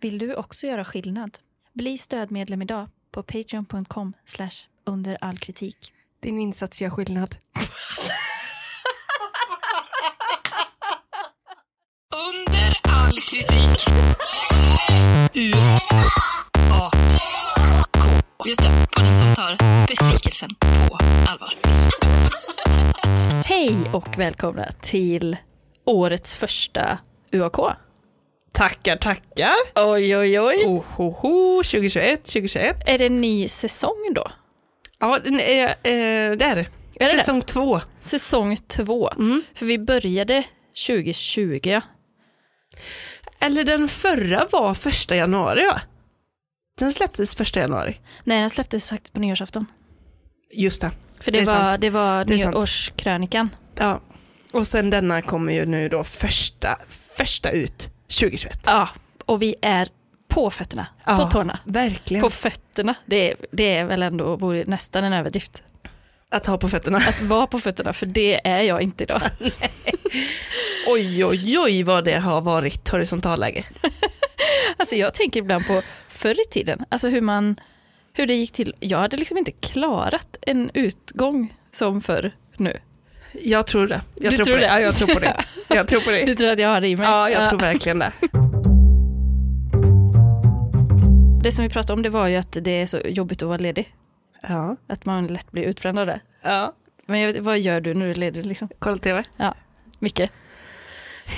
Vill du också göra skillnad? Bli stödmedlem idag på patreon.com under all kritik. Din insats gör skillnad. Under all kritik. U A K. Just det, på den som tar besvikelsen på allvar. Hej och välkomna till årets första UAK. Tackar, tackar. Oj, oj, oj. Ohoho, 2021, 2021. Är det en ny säsong då? Ja, den är, eh, det är det. Är det Säsong två. Säsong två. Mm. För vi började 2020. Eller den förra var första januari, va? Den släpptes första januari. Nej, den släpptes faktiskt på nyårsafton. Just det. För det, Det är var, sant. det var Det är sant. nyårskrönikan. Ja. Och sen denna kommer ju nu då första, första ut 2021. Ja, och vi är på fötterna, Ja. på tårna. Verkligen. På fötterna, det är, det är väl ändå vore nästan en överdrift. att ha på fötterna. Att vara på fötterna, för det är jag inte idag. Oj, oj, oj vad det har varit horisontalläge. Alltså jag tänker ibland på förr i tiden, alltså hur, man, hur det gick till. Jag hade liksom inte klarat en utgång som förr nu. Jag tror det. Jag Du tror, tror på det. det? Ja, jag tror på det. Jag tror på det. Du tror att jag har det i mig? Ja, jag tror verkligen det. Det som vi pratade om det var ju att det är så jobbigt att vara ledig. Ja. Att man lätt blir utbränd av det. ja. Men jag vet, vad gör du när du är ledig? Liksom? Kolla TV. Mycket.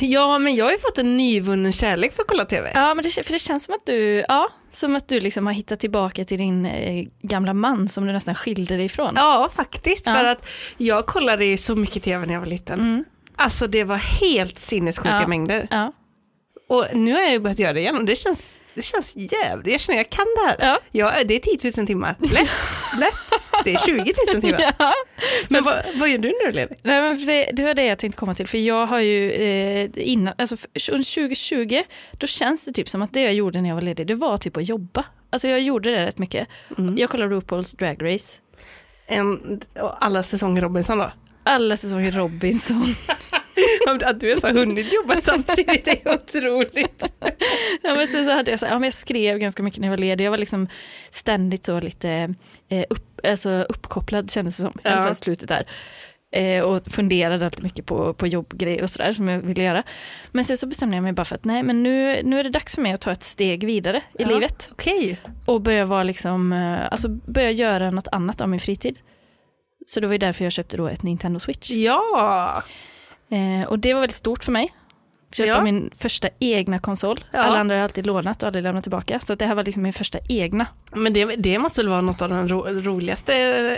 Ja, men jag har ju fått en nyvunnen kärlek för att kolla TV. Ja, men det, för det känns som att du, ja, som att du liksom har hittat tillbaka till din eh, gamla man som du nästan skilde dig ifrån. Ja, faktiskt. Ja. För att jag kollade ju så mycket TV när jag var liten. Mm. Alltså det var helt sinnessjuka Ja. mängder. Ja. Och nu har jag ju börjat göra det igen och det känns, det känns jävligt. Jag känner jag kan det här. Ja. Ja, det är 10 000 timmar. Lätt, lätt. Det är 20 000 timmar. Ja. Men vad, vad gör du när du lever? Nej, men för det, det var det jag tänkte komma till, för jag har ju eh, innan, alltså för- under 2020, då känns det typ som att det jag gjorde när jag var ledig, det var typ att jobba. Alltså jag gjorde det rätt mycket. Mm. Jag kollade RuPaul's Drag Race, Mm. En, och alla säsonger Robinson då? alla säsonger Robinson, Att du ens har hunnit jobba samtidigt är otroligt. Ja, men sen så hade jag, så här, ja, men jag skrev ganska mycket när jag var ledig. Jag var liksom ständigt så lite eh, upp, alltså uppkopplad kändes det som. I alla Ja. fall slutet där. Eh, och funderade alltid mycket på, på jobbgrejer och sådär som jag ville göra. Men sen så bestämde jag mig bara för att nej men nu, nu är det dags för mig att ta ett steg vidare i Ja. livet. Okej. Och börja vara liksom, eh, alltså börja göra något annat av min fritid. Så det var ju därför jag köpte då ett Nintendo Switch. Ja. Eh, och det var väldigt stort för mig. Köpa Ja. min första egna konsol. Ja. Alla andra har jag alltid lånat och aldrig lämnat tillbaka. Så att det här var liksom min första egna. Men det, det måste väl vara något av den ro, roligaste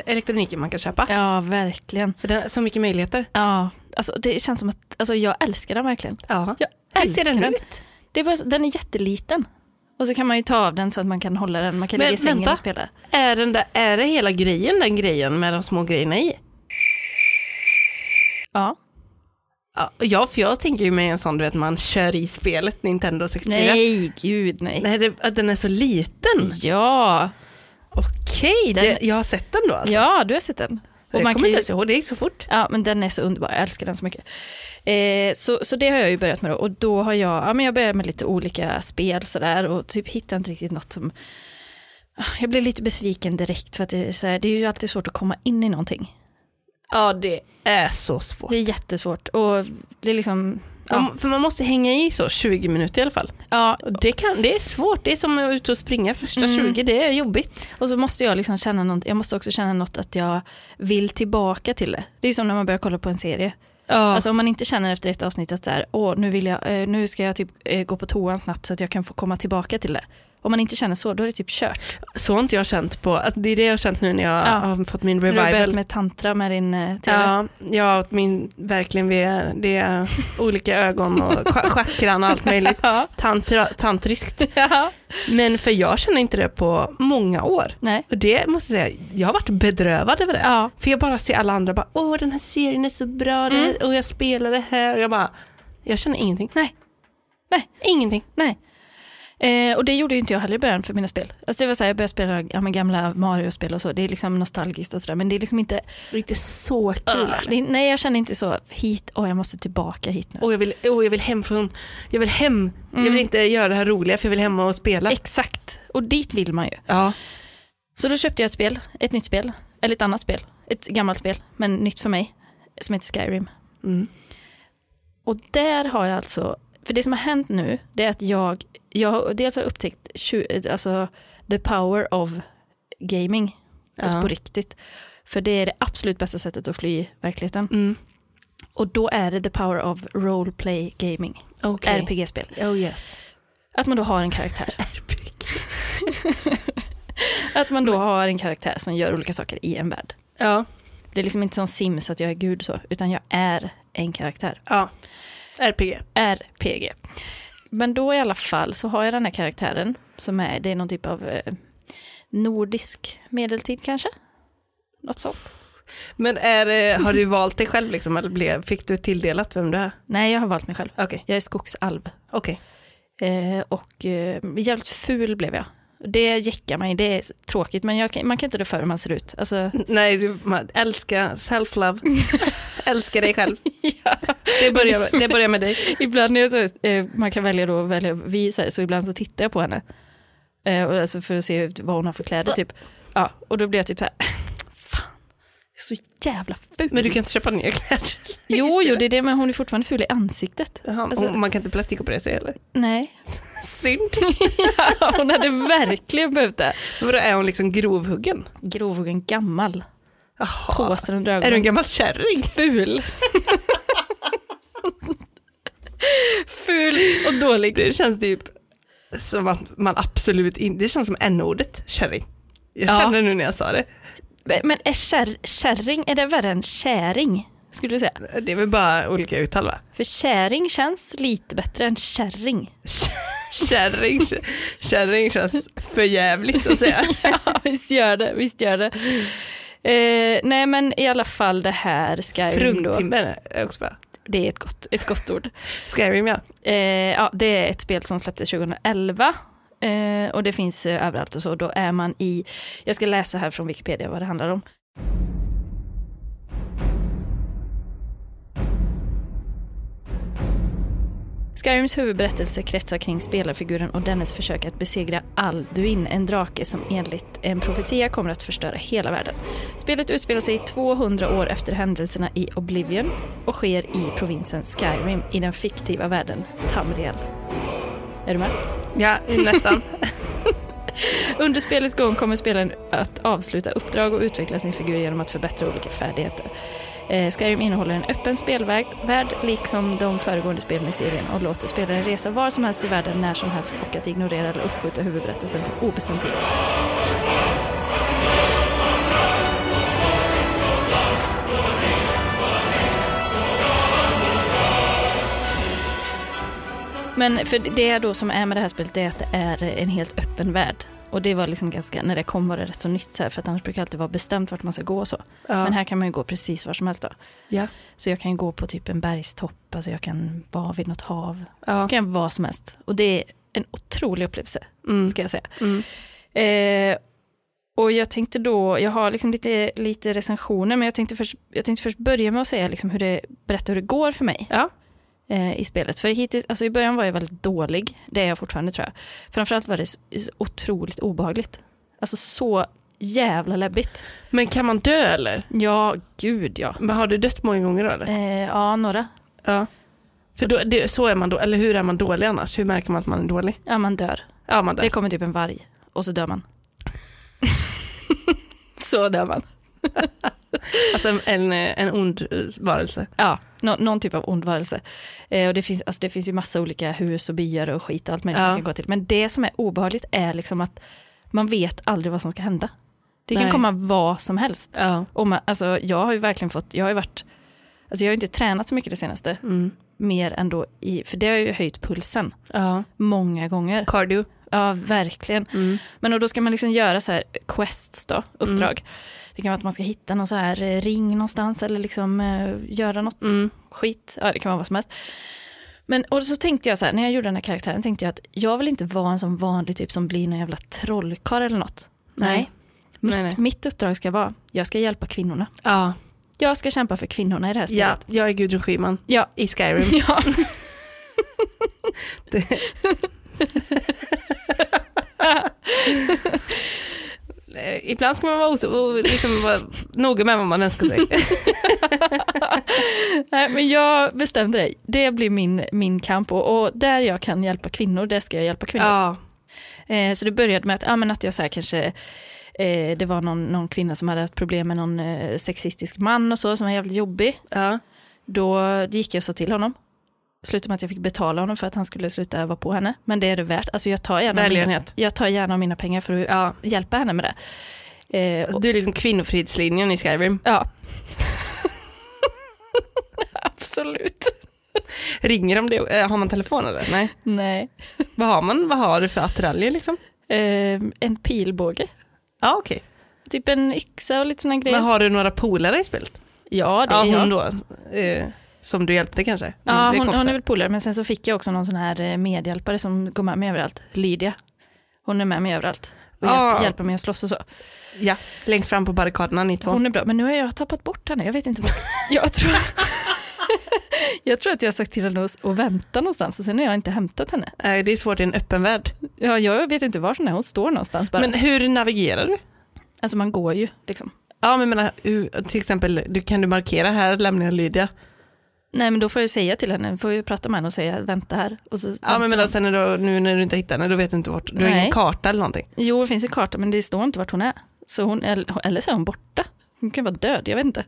elektroniken man kan köpa? Ja, verkligen. För den har så mycket möjligheter. Ja, alltså det känns som att alltså, jag älskar den verkligen. Ja. Jag Hur ser älskar den ut? Det är bara, så- den är jätteliten. Och så kan man ju ta av den så att man kan hålla den. Man kan Men ligga i sängen vänta. och spela. Är, den där, är det hela grejen, den grejen med de små grejerna i? Ja. Ja, Ja, för jag tänker ju mig en sån du vet man kör i spelet Nintendo 64. Nej, gud nej. Nej, det, att den är så liten. Ja. Okej, Den- det- jag har sett den då alltså. ja, du har sett den. jag kommer kan ju- inte ens ihåg, det gick så fort. Ja, men den är så underbar. Jag älskar den så mycket. Eh, så, så det har jag ju börjat med då. Och då har jag, ja, men jag börjat med lite olika spel sådär och typ hittar inte riktigt något som... ah, Jag blir lite besviken direkt för att det är, så här, det är ju alltid svårt att komma in i någonting. Ja, det är så svårt. Det är jättesvårt och det är liksom... Ja, Man- För man måste hänga i så 20 minuter i alla fall. ja, Och Det, kan, det är svårt, det är som att ut och springa första Mm. 20, det är jobbigt. och så måste jag liksom känna något, jag måste också känna något att jag vill tillbaka till det. Det är ju som när man börjar kolla på en serie. Ja, Alltså om man inte känner efter ett avsnitt att så här, Åh, nu, vill jag, eh, nu ska jag typ eh, gå på toan snabbt så att jag kan få komma tillbaka till det. Om man inte känner så, då är det typ kört. så har inte jag känt på, att det är det jag har känt nu när jag Ja. har fått min När Du har revival. börjat med tantra med din eh, tv. Ja, ja, att min, verkligen, vi är, det är olika ögon och cha- chakran och allt möjligt. Ja. Tantra, tantriskt. Men för jag känner inte det på många år. Nej. Och det måste jag säga, jag har varit bedrövad över det. Ja. För jag bara ser alla andra bara, åh den här serien är så bra Mm. den- och jag spelar det här och jag bara, jag känner ingenting. Nej. Nej. Ingenting. Nej. Eh, och det gjorde ju inte jag heller i början för mina spel. Alltså det var så här, jag började spela ja, men gamla Mario-spel och så, det är liksom nostalgiskt och sådär men det är liksom inte, Inte så kul. Ah, det, nej jag känner inte så, hit, åh jag måste tillbaka hit nu. Mm. Och jag vill, och jag vill hem från, jag vill hem. Jag vill inte göra det här roliga för jag vill hem och spela. Exakt, och dit vill man ju. Ja. Så då köpte jag ett spel, ett nytt spel, eller ett annat spel, ett gammalt spel, men nytt för mig, som heter Skyrim. Mm. Och där har jag alltså, för det som har hänt nu, det är att jag, jag har dels har upptäckt tju- alltså, the power of gaming, alltså Ja. på riktigt. För det är det absolut bästa sättet att fly verkligheten. Mm. Och då är det the power of roleplay gaming, Okej. RPG-spel. Oh yes. Att man då har en karaktär. Att man då har en karaktär som gör olika saker i en värld. Ja. Det är liksom inte som Sims att jag är gud så, utan jag är en karaktär. ja. RPG. RPG. Men då i alla fall så har jag den här karaktären som är, det är någon typ av eh, nordisk medeltid kanske? Något sånt. Men är, det- har du valt dig själv liksom, eller blev, fick du tilldelat vem du är? Nej, jag har valt mig själv. Okej. Jag är skogsalv. Okej. Eh, och eh, jävligt ful blev jag. Det jäckar mig, det är tråkigt men jag kan, man kan inte rå för hur man ser ut. Alltså, Nej, du, man, älska self-love. älska dig själv. ja. Det börjar, med- det börjar med dig. Ibland när jag, så här, eh, man kan välja då, att välja, vi så, här, så ibland så tittar jag på henne. Eh, och alltså för att se vad hon har för kläder typ. Ja, och då blir jag typ så här, fan, så jävla ful. Men du kan inte köpa nya kläder. jo, jo, det är det, men hon är fortfarande ful i ansiktet. Jaha, Alltså- och man kan inte plastikopera sig eller? Nej, Synd. ja, hon hade verkligen behövt det. Vadå, är hon liksom grovhuggen? Grov och en gammal, Jaha. påsen under Är du en ögonen. gammal kärring? Ful. ful och dålig. Det känns typ som att man absolut inte, det känns som n-ordet, kärring. Jag Ja. känner nu när jag sa det. Men är kär, kärring, är det värre än käring? Skulle du säga? Det är väl bara olika uttal va? För käring känns lite bättre än kärring. Kärring, kärring känns för jävligt att säga. Ja, visst gör det. Visst gör det. Eh, nej men i alla fall det här Skyrim då. Fruntimmer är också bra. Det är ett gott, ett gott ord. Skyrim ja. Eh, ja, det är ett spel som släpptes 2011 eh, och det finns eh, överallt och så. Då är man i, jag ska läsa här från Wikipedia vad det handlar om. Skyrims huvudberättelse kretsar kring spelarfiguren och dennes försök att besegra Alduin, en drake som enligt en profetia kommer att förstöra hela världen. Spelet utspelar sig 200 år efter händelserna i Oblivion och sker i provinsen Skyrim i den fiktiva världen Tamriel. Är du med? Ja, nästan. Under spelets gång kommer spelaren att avsluta uppdrag och utveckla sin figur genom att förbättra olika färdigheter. Eh, Skyrim innehåller en öppen spelvärld värld, liksom de föregående spelen i serien och låter spelaren resa var som helst i världen när som helst och att ignorera eller uppskjuta huvudberättelsen på obestämd tid. Men för det då som är med det här spelet det är att det är en helt öppen värld. Och det var liksom ganska, när det kom var det rätt så nytt så här, för att annars brukar det alltid vara bestämt vart man ska gå och så. Men här kan man ju gå precis var som helst då. Ja. Så jag kan ju gå på typ en bergstopp, alltså jag kan vara vid något hav, Ja. jag kan vara som helst. Och det är en otrolig upplevelse, Mm. ska jag säga. Mm. Eh, och jag tänkte då, jag har liksom lite, lite recensioner, men jag tänkte, först, jag tänkte först börja med att säga liksom hur det, berätta hur det går för mig Ja. eh, i spelet. För hittills, alltså i början var jag väldigt dålig, det är jag fortfarande tror jag. Framförallt var det så så otroligt obehagligt. Alltså så jävla läbbigt. Men kan man dö eller? Ja, gud ja. Men har du dött många gånger då eller? Eh, ja, några. Ja. För då, det, så är man då, eller hur är man dålig annars? Hur märker man att man är dålig? Ja, man dör. Ja, man Det dör. kommer typ en varg och så dör man. så dör man. Alltså en, en, eh, en ond eh, varelse. Ja, nå- någon typ av ond varelse. Eh, och det, finns, alltså det finns ju massa olika hus och byar och skit och allt möjligt Ja. man kan gå till. Men det som är obehagligt är liksom att man vet aldrig vad som ska hända. Det kan Nej. komma vad som helst. Ja. Och man, alltså, jag har ju verkligen fått, jag har ju varit, alltså jag har ju inte tränat så mycket det senaste, Mm. mer än då i, för det har ju höjt pulsen ja. många gånger. Cardio. Ja, verkligen. Mm. Men och då ska man liksom göra så här quests då, uppdrag. Mm. Det kan vara att man ska hitta någon så här Mm. eh, ring någonstans eller liksom eh, göra något skit. Ja, det kan vara vad som helst. Men och så tänkte jag så här, när jag gjorde den här karaktären tänkte jag att jag vill inte vara en sån vanlig typ som blir någon jävla trollkarl eller något. Nej. Nej. Mitt, Nej, nej. mitt uppdrag ska vara, jag ska hjälpa kvinnorna. Ja. Jag ska kämpa för kvinnorna i det här ja, Mm. spelet. jag är Gudrun Schyman Ja. i Skyrim. Ja. Eh, Ibland ska man vara, os- och liksom vara noga med vad man önskar sig. Nej, men jag bestämde det. Det blir min, min kamp och, och där jag kan hjälpa kvinnor, där ska jag hjälpa kvinnor. ja. Eh, så det började med att, ja, men att jag så här kanske, eh, det var någon, någon kvinna som hade haft problem med någon eh, sexistisk man och så som var jävligt jobbig. Ja. Då gick jag så till honom. Slutade med att jag fick betala honom för att han skulle sluta vara på henne. Men det är det värt. Alltså jag tar gärna, mina, Välgörenhet. jag tar gärna mina pengar för att ja. hjälpa henne med det. Eh, Alltså, och, du är liksom kvinnofridslinjen i Skyrim. ja. Absolut. Ringer de det? Eh, Har man telefon eller? Nej. Nej. Vad har man? Vad har du för attiraljer liksom? Eh, en pilbåge. Ja okej. Typ en yxa och lite sådana Men grejer. har du några polare i spelet? Ja, det Ja, är jag. hon då. Eh, som du hjälpte kanske? Mm, Din- Ja, din hon, kompisar. hon är väl polare, men sen så fick jag också någon sån här eh, medhjälpare som går med mig överallt, Lydia. Hon är med mig överallt och Ja. hjälper, hjälper mig att slåss och så. Ja, längst fram på barrikaderna ni två. Hon är bra, men nu har jag tappat bort henne, jag vet inte vad. Jag tror, jag tror att jag har sagt till henne att- att vänta någonstans och sen har jag inte hämtat henne. Nej, Eh, det är svårt i en öppen värld. Ja, jag vet inte var hon är, hon står någonstans bara. Men hur navigerar du? alltså man går ju liksom. Ja, men jag menar, hur- till exempel, du, kan du markera här lämnar jag Lydia? Nej men då får jag ju säga till henne, får jag ju prata med henne och säga vänta här. Och så Ja, väntar men menar, hon. sen är du, nu när du inte hittar henne, då vet du inte vart, du har Nej. ingen karta eller någonting. Jo det finns en karta men det står inte vart hon är. Så hon, eller, eller så är hon borta. Hon kan vara död, jag vet inte.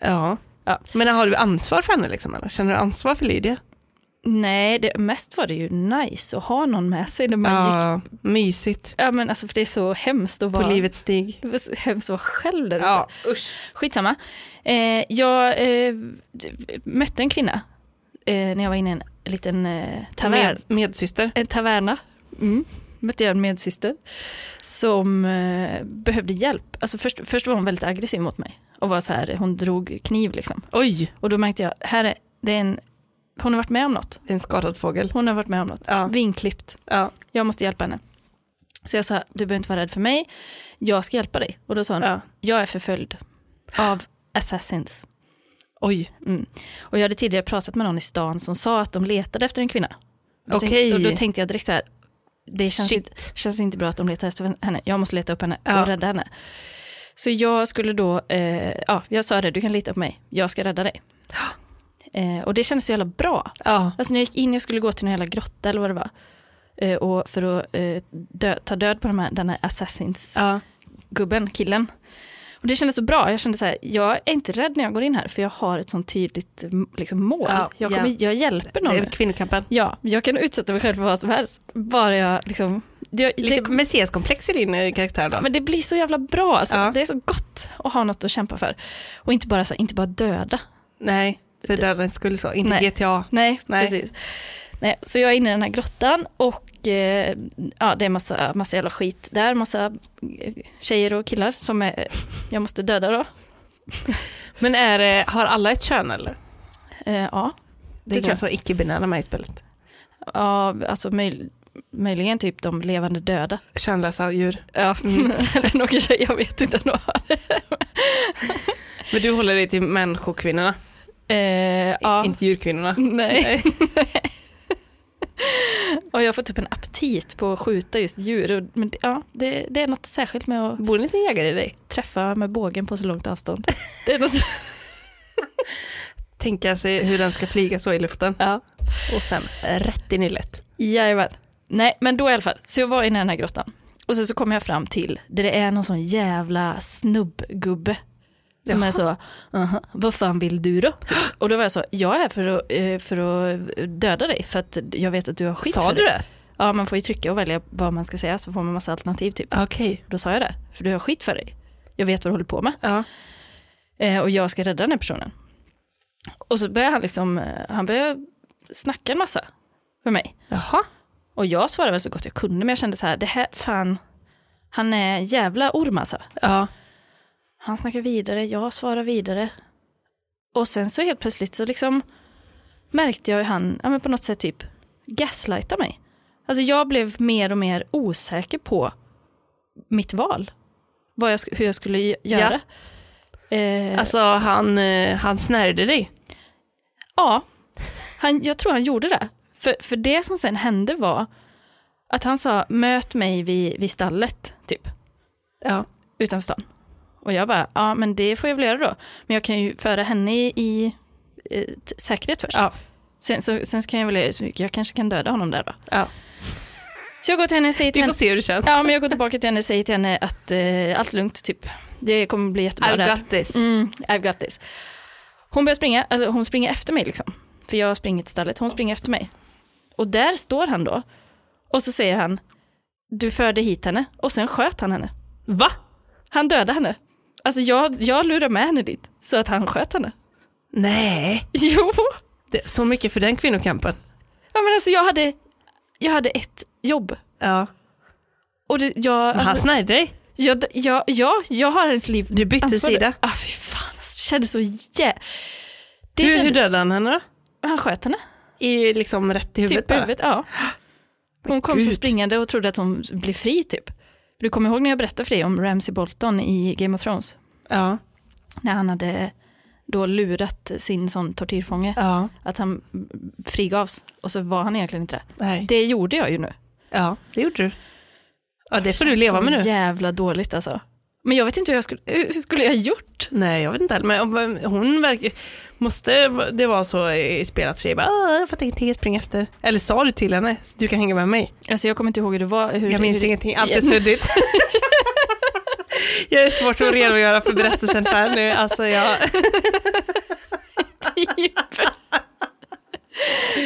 Ja. Ja. Men har du ansvar för henne liksom? Eller? Känner du ansvar för Lydia? Nej, det, mest var det ju nice att ha någon med sig när man gick. Ja, mysigt. Ja, men alltså för det är så hemskt att På vara, livets stig. det var så hemskt att vara själv där ute. Ja, usch. Skitsamma. Eh, jag eh, d- mötte en kvinna eh, när jag var inne i en liten eh, tavern, Med, medsyster. en taverna. Mm. Mötte jag en medsyster som eh, behövde hjälp. Alltså först, först var hon väldigt aggressiv mot mig och var så här, hon drog kniv liksom. Oj, Och då märkte jag, här är, det är en, hon har varit med om något. en skadad fågel. Hon har varit med om något. Ja. Vinklippt. Ja. jag måste hjälpa henne. Så jag sa, du behöver inte vara rädd för mig, jag ska hjälpa dig. Och då sa hon, Ja. jag är förföljd av assassins. Oj, Mm. Och jag hade tidigare pratat med någon i stan som sa att de letade efter en kvinna. Då tänk- Okej. Och då tänkte jag direkt så här, det känns Shit. inte, känns inte bra att de letar efter henne, jag måste leta upp henne Ja. och rädda henne. Så jag skulle då, eh, ja, jag sa det, du kan lita på mig, jag ska rädda dig. Eh, och det kändes så jävla bra. ja. Alltså när jag gick in, jag skulle gå till någon jävla grotta eller vad det var. Eh, och för att eh, dö, ta död på de här, den här assassins-gubben, ja. killen. Och det kändes så bra, jag kände så här, jag är inte rädd när jag går in här för jag har ett sånt tydligt eh, m- liksom, mål. Ja, jag, kommer, ja. jag hjälper Det någon. är kvinnokampen. Ja, jag kan utsätta mig själv för vad som helst. Bara jag liksom... Det, det, Lite messiaskomplex i din eh, karaktär då? men det blir så jävla bra alltså. Ja. Det är så gott att ha något att kämpa för. Och inte bara, så här, inte bara döda. Nej, för dödens skull så. Inte Nej. GTA. Nej, Nej. precis. Nej, så jag är inne i den här grottan och eh, ja, det är massa, massa jävla skit där, massa eh, tjejer och killar som är, jag måste döda då. Men är, det- har alla ett kön eller? Eh, ja. Det, Det är tror inga så icke-binära med i spelet. ja, alltså möj, möjligen typ de levande döda. Könlösa djur. Ja, eller någon tjej, jag vet inte. Någon. Men du håller dig till människokvinnorna, Eh, ja. inte djurkvinnorna. Nej. och jag får typ en aptit på att skjuta just djur. och- Men det- ja, det, det är något särskilt med att Bor det inte en jägare i dig? träffa med bågen på så långt avstånd. Det är något Tänka sig hur den ska flyga så i luften Ja. och sen rätt i nyllet. Jajamän. Nej, men då i alla fall. Så jag var inne i den här grottan. Och sen så kom jag fram till där det är någon sån jävla snubbgubbe. Som är så, "Aha, vad fan vill du då? Typ. Och då var jag så, jag är här för att, eh, för att döda dig för att jag vet att du har skit Sa för du dig. det? Ja, man får ju trycka och välja vad man ska säga så får man massa alternativ typ. Okej. Då sa jag det, för du har skit för dig. Jag vet vad du håller på med Ja. eh, och jag ska rädda den här personen. Och så börjar han liksom, eh, han börjar snacka en massa för mig. Jaha. Och jag svarade väl så gott jag kunde, men jag kände så här, det här, fan, han är en jävla orm alltså. Ja. Han snackar vidare, jag svarar vidare. Och sen så helt plötsligt så liksom märkte jag hur han ja, men på något sätt typ gaslighta mig. Alltså jag blev mer och mer osäker på mitt val. Vad jag, sk- hur jag skulle gö- Ja. göra. Eh, Alltså han, eh, han snärjde dig. Ja, han, jag tror han gjorde det. För, för det som sen hände var att han sa möt mig vid, vid stallet, typ, Ja. utanför stan. Och jag bara, ja men det får jag väl göra då. Men jag kan ju föra henne i, i eh, t- säkerhet först. Ja. Sen, så, sen så kan jag väl, så jag kanske kan döda honom där då. Ja. Så jag går till henne och säger till Vi får henne, se hur det känns. ja, men jag går tillbaka till henne och säger till henne att eh, allt lugnt, typ. Det kommer bli jättebra det här. I've got this. Mm, I've got this. Hon börjar springa, eller hon springer efter mig liksom. För jag springer till stallet, hon springer efter mig. Och där står han då. Och så säger han, du förde hit henne. Och sen sköt han henne. Va? Han dödade henne. Alltså jag, jag lurade med henne dit, så att han sköt henne. Nej, Jo, det, så mycket för den kvinnokampen. ja, men alltså jag hade, jag hade ett jobb. Ja. Och det, jag, Men han alltså, snärjde dig. jag, jag, jag, jag har hennes liv. Du bytte ansvar- sida. Ah, fy fan, alltså, det kändes så jä... Det Hur, hur kändes, dödade han henne då? han sköt henne. I liksom rätt i huvudet Typ huvudet, ja. Hon kom så Gud. springande och trodde att hon blev fri typ. Du kommer ihåg när jag berättade för dig om Ramsay Bolton i Game of Thrones? Ja. När han hade då lurat sin sån tortyrfånge. Ja. Att han frigavs och så var han egentligen inte det. Nej. Det gjorde jag ju nu. ja, det gjorde du. Ja, det får du leva så med nu. jävla dåligt alltså. Men jag vet inte hur jag skulle, hur skulle jag ha gjort? Nej, jag vet inte heller. Men om- hon verkar... Måste det vara så i spelet att tjejer bara "Ah, “jag fattar ingenting, jag springer efter”? Eller sa du till henne “du kan hänga med mig”? Alltså jag kommer inte ihåg hur det var. Hur, Jag minns hur, ingenting, allt är suddigt. jag är svårt att redogöra för berättelsen så här nu. Alltså jag... typ.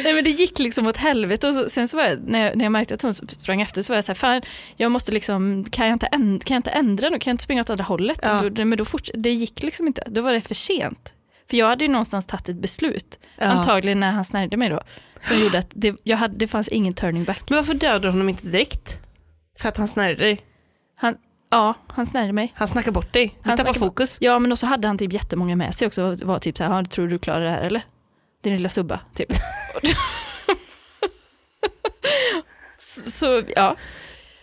Nej men det gick liksom åt helvete och så, sen så var jag, när jag, när jag märkte att hon sprang efter så var jag så här, fan jag måste liksom, kan jag inte, änd- kan jag inte ändra nu, kan jag inte springa åt andra hållet? Ja. Och Då, men då forts- det gick liksom inte, då var det för sent. För jag hade ju någonstans tagit ett beslut, Ja. antagligen när han snärjde mig då, som gjorde att det, jag hade, det fanns ingen turning back. Men varför dödade du honom inte direkt? För att han snärjde dig. Han, ja, han snärjde mig. Han snackar bort dig. Du Han tappar snackar bort- fokus. Ja men och så hade han typ jättemånga med sig också och var typ så här, "Ja, tror du du klarar det här eller? Din lilla subba typ. så, så ja,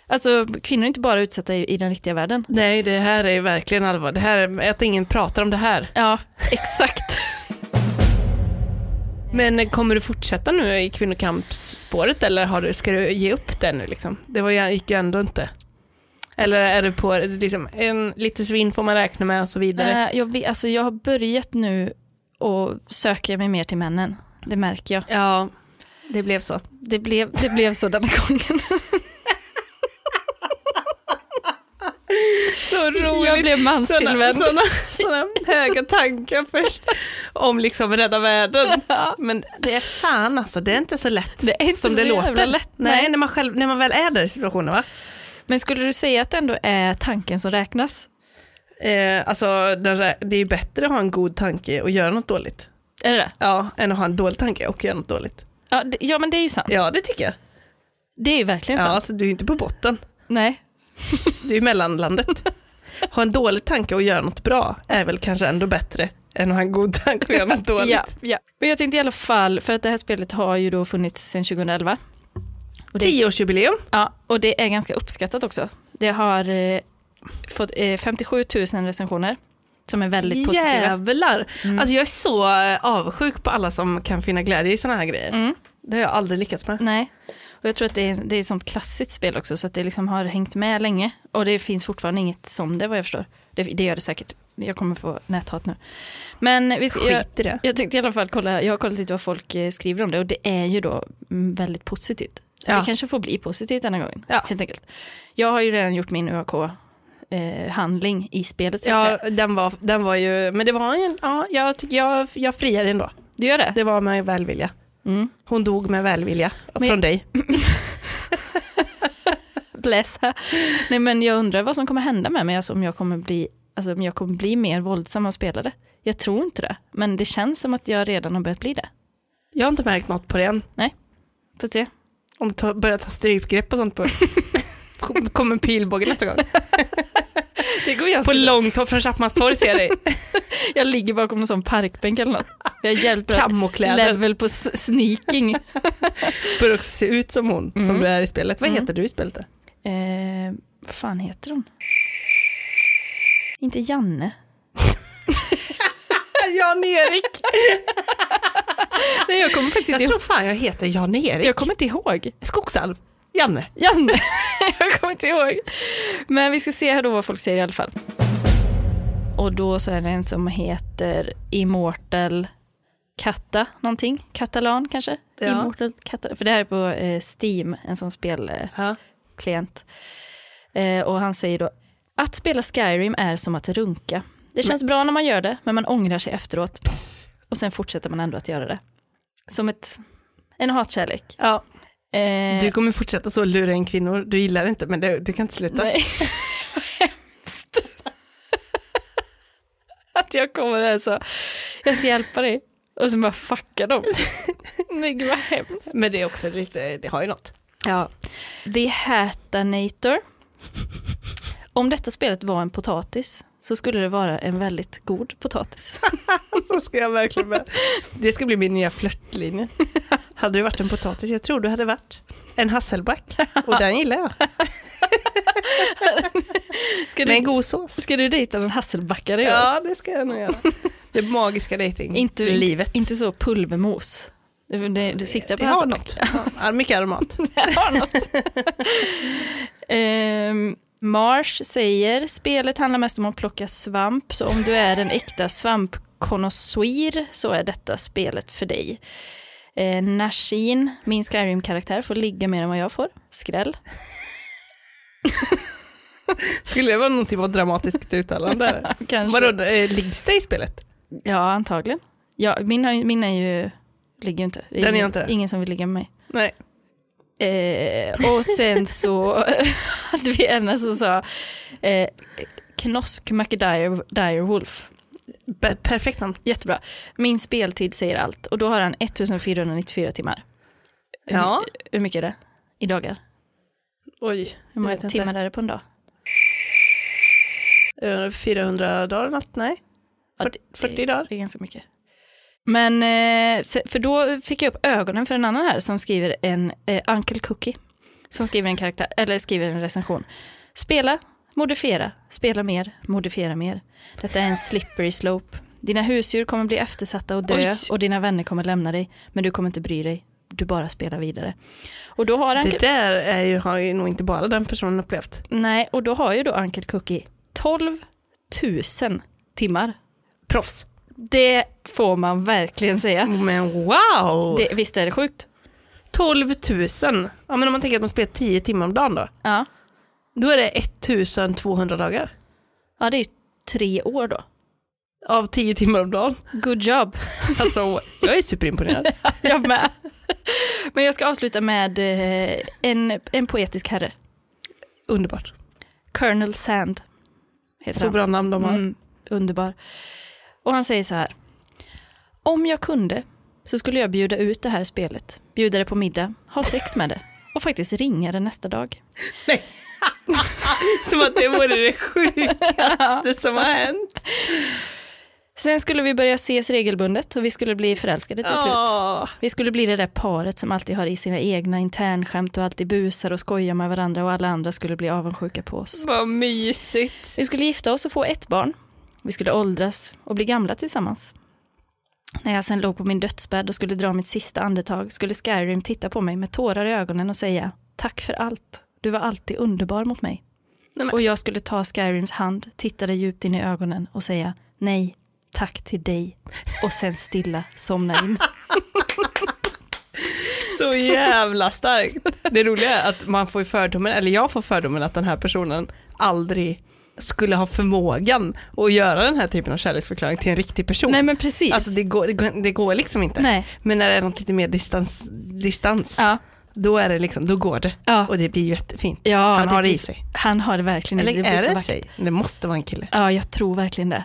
alltså kvinnor är inte bara utsatta i, i den riktiga världen. Nej, det här är verkligen allvar. Det här är att ingen pratar om det här. Ja, exakt. Men kommer du fortsätta nu i kvinnokampsspåret eller har du, ska du ge upp det nu? Liksom? Det var, ju- gick ju ändå inte. Eller är det på liksom, en, lite svinn får man räkna med och så vidare. Nej, jag, vet- alltså, jag har börjat nu och söker mig mer till männen. Det märker jag. Ja, det blev så. Det blev, det blev så den här gången. Så roligt. Jag blev manstillvänd. Sådana, sådana höga tankar först om liksom rädda världen. Men det är fan alltså, det är inte så lätt Det är inte som så det jävla låter. lätt, nej, nej. När, man själv, när man väl är där i situationen va? Men skulle du säga att det ändå är tanken som räknas? Eh, alltså, den rä- det är ju bättre att ha en god tanke och göra något dåligt. Är det det? Ja, än att ha en dålig tanke och göra något dåligt. Ja, det, ja men det är ju sant. Ja, det tycker jag. Det är ju verkligen Ja, sant. alltså, du är ju inte på botten, Nej. du är ju mellanlandet. ha en dålig tanke och göra något bra är väl kanske ändå bättre än att ha en god tanke och göra något dåligt. Ja, ja. Men jag tänkte i alla fall, för att det här spelet har ju då funnits sedan 2011. Och det, Tioårsjubileum. ja, och det är ganska uppskattat också. Det har eh, fått eh, 57 000 recensioner som är väldigt positiva. Mm. Jävlar! Alltså jag är så eh, avundsjuk på alla som kan finna glädje i sådana här grejer. Mm. Det har jag aldrig lyckats med. Nej. Och jag tror att det är, det är ett sånt klassiskt spel också så att det liksom har hängt med länge. Och det finns fortfarande inget som det vad jag förstår. Det, det gör det säkert. Jag kommer få näthat nu. Men vi ska, jag, Skit i det. Jag tänkte i alla fall kolla, jag har kollat lite vad folk eh, skriver om det och det är ju då mm, väldigt positivt. Så Ja. det kanske får bli positivt denna gången, Ja. helt enkelt. Jag har ju redan gjort min UAK-handling eh, i spelet så att Ja, säga. den var, den var ju, men det var en, ja, jag, tycker jag, jag friade ändå. Du gör det? Det var med välvilja. Mm. Hon dog med välvilja Men- från dig. Bless. Nej men jag undrar vad som kommer hända med mig, alltså om jag kommer bli, alltså om jag kommer bli mer våldsam av spelare. Jag tror inte det, men det känns som att jag redan har börjat bli det. Jag har inte märkt något på det än. Får se. Om ta, börjar ta strypgrepp och sånt på Kom- kommer pilbåge nästa gång. Alltså- Det går jag, På långt håll från Chapmans torg ser jag dig. jag ligger bakom en sån parkbänk eller något. Jag hjälper Kamokläder. level på s- sneaking. Börjar också se ut som hon som Mm. du är i spelet. Vad Mm. heter du i spelet? då? Eh, vad fan heter hon? Inte Janne. Jan-Erik. Nej, jag kommer faktiskt Jag inte tror fan jag heter Jan-Erik. Jag kommer inte ihåg. Skogsalv. Janne. Janne. jag kommer inte ihåg. Men vi ska se här då vad folk säger i alla fall. Och då så är det en som heter Immortal Katta någonting. Katalan kanske? Ja. Immortal Katta. För det här är på eh, Steam, en sån spelklient. Ja. Eh, och han säger då, att spela Skyrim är som att runka. Det känns bra när man gör det, men man ångrar sig efteråt. Och sen fortsätter man ändå att göra det. Som ett, en hatkärlek. Ja. Eh, Du kommer fortsätta så lura in kvinnor. Du gillar det inte men det, du kan inte sluta. Nej. Hemskt. Att jag kommer där så, jag ska hjälpa dig. Och sen bara fucka dem. Nej gud vad hemskt. Men det är också lite, det har ju något. Ja. The Hatanator. Om detta spelet var en potatis så skulle det vara en väldigt god potatis. Så ska jag verkligen med. Det ska bli min nya flörtlinje. Hade du varit en potatis, jag tror du hade varit en hasselback. Och den gillar jag. Ska Med du, en god sås. ska du dejta någon hasselbackare? Ja. Ja, det ska jag nog göra. Det magiska dejting. Inte, Livet. inte så pulvermos. Du, du, du siktar på det har hasselback. något. Ja, mycket aromat. Ehm, Marsh säger, spelet handlar mest om att plocka svamp, så om du är en äkta svampkonnässör så är detta spelet för dig. Eh, Nashin, min Skyrim-karaktär, får ligga mer än vad jag får. Skräll. Skulle det vara någon typ av dramatiskt uttalande? eller? Kanske. Vadå, eh, liggs det i spelet? Ja, antagligen. Ja, min, har, ju- min är ju, ligger ju inte. Det Den är ingen, inte det. ingen som vill ligga med mig. Nej. Eh, och sen så hade vi en som sa eh, Knosk McDire Dire Wolf. Be- perfekt namn. Jättebra. Min speltid säger allt och då har han 1494 timmar. Hur- Ja. Hur mycket är det i dagar? Oj. Hur många Jag vet inte. timmar är det på en dag? Eh, 400 dagar natt? Nej. Ja, Fyrt- det- 40 dagar? Det är ganska mycket. Men, eh, se- för då fick jag upp ögonen för en annan här som skriver en eh, Uncle Cookie. Som skriver en karaktär, eller skriver en recension. Spela, modifiera, spela mer, modifiera mer. Detta är en slippery slope. Dina husdjur kommer bli eftersatta och dö Oj. och dina vänner kommer lämna dig. Men du kommer inte bry dig, du bara spelar vidare. Och då har Uncle, Det där är ju, har ju nog inte bara den personen upplevt. nej, och då har ju då Uncle Cookie 12 000 timmar. Proffs. Det får man verkligen säga. Men wow! Det, visst är det sjukt? 12 000. Ja, men om man tänker att man spelar 10 timmar om dagen då. Ja. Då är det 1200 dagar. Ja, det är ju tre år då. Av 10 timmar om dagen. Good job. Alltså, jag är superimponerad. Jag med. Men jag ska avsluta med eh, en, en poetisk herre. Underbart. Colonel Sand. Heter Så han. bra namn de har. Mm, underbar. Och han säger så här. Om jag kunde så skulle jag bjuda ut det här spelet, bjuda det på middag, ha sex med det och faktiskt ringa det nästa dag. Som att det vore det sjukaste som har hänt. Sen skulle vi börja ses regelbundet och vi skulle bli förälskade till slut. Åh. Vi skulle bli det där paret som alltid har i sina egna internskämt och alltid busar och skojar med varandra och alla andra skulle bli avundsjuka på oss. Vad mysigt. Vi skulle gifta oss och få ett barn. Vi skulle åldras och bli gamla tillsammans. När jag sen låg på min dödsbädd och skulle dra mitt sista andetag skulle Skyrim titta på mig med tårar i ögonen och säga tack för allt. Du var alltid underbar mot mig. Nej, men- Och jag skulle ta Skyrims hand, titta dig djupt in i ögonen och säga nej, tack till dig och sen stilla somna in. Så jävla starkt. Det roliga är att man får ju fördomen, eller jag får fördomen att den här personen aldrig skulle ha förmågan att göra den här typen av kärleksförklaring till en riktig person. Nej men precis. Alltså det går, det går, det går liksom inte. Nej. Men när det är något lite mer distans, distans Ja. då är det liksom, då går det. Ja. Och det blir jättefint. Ja, Han har det blir i så- sig. Han har det verkligen i Eller sig. blir är så det en vackert. tjej? Det måste vara en kille. Ja, jag tror verkligen det.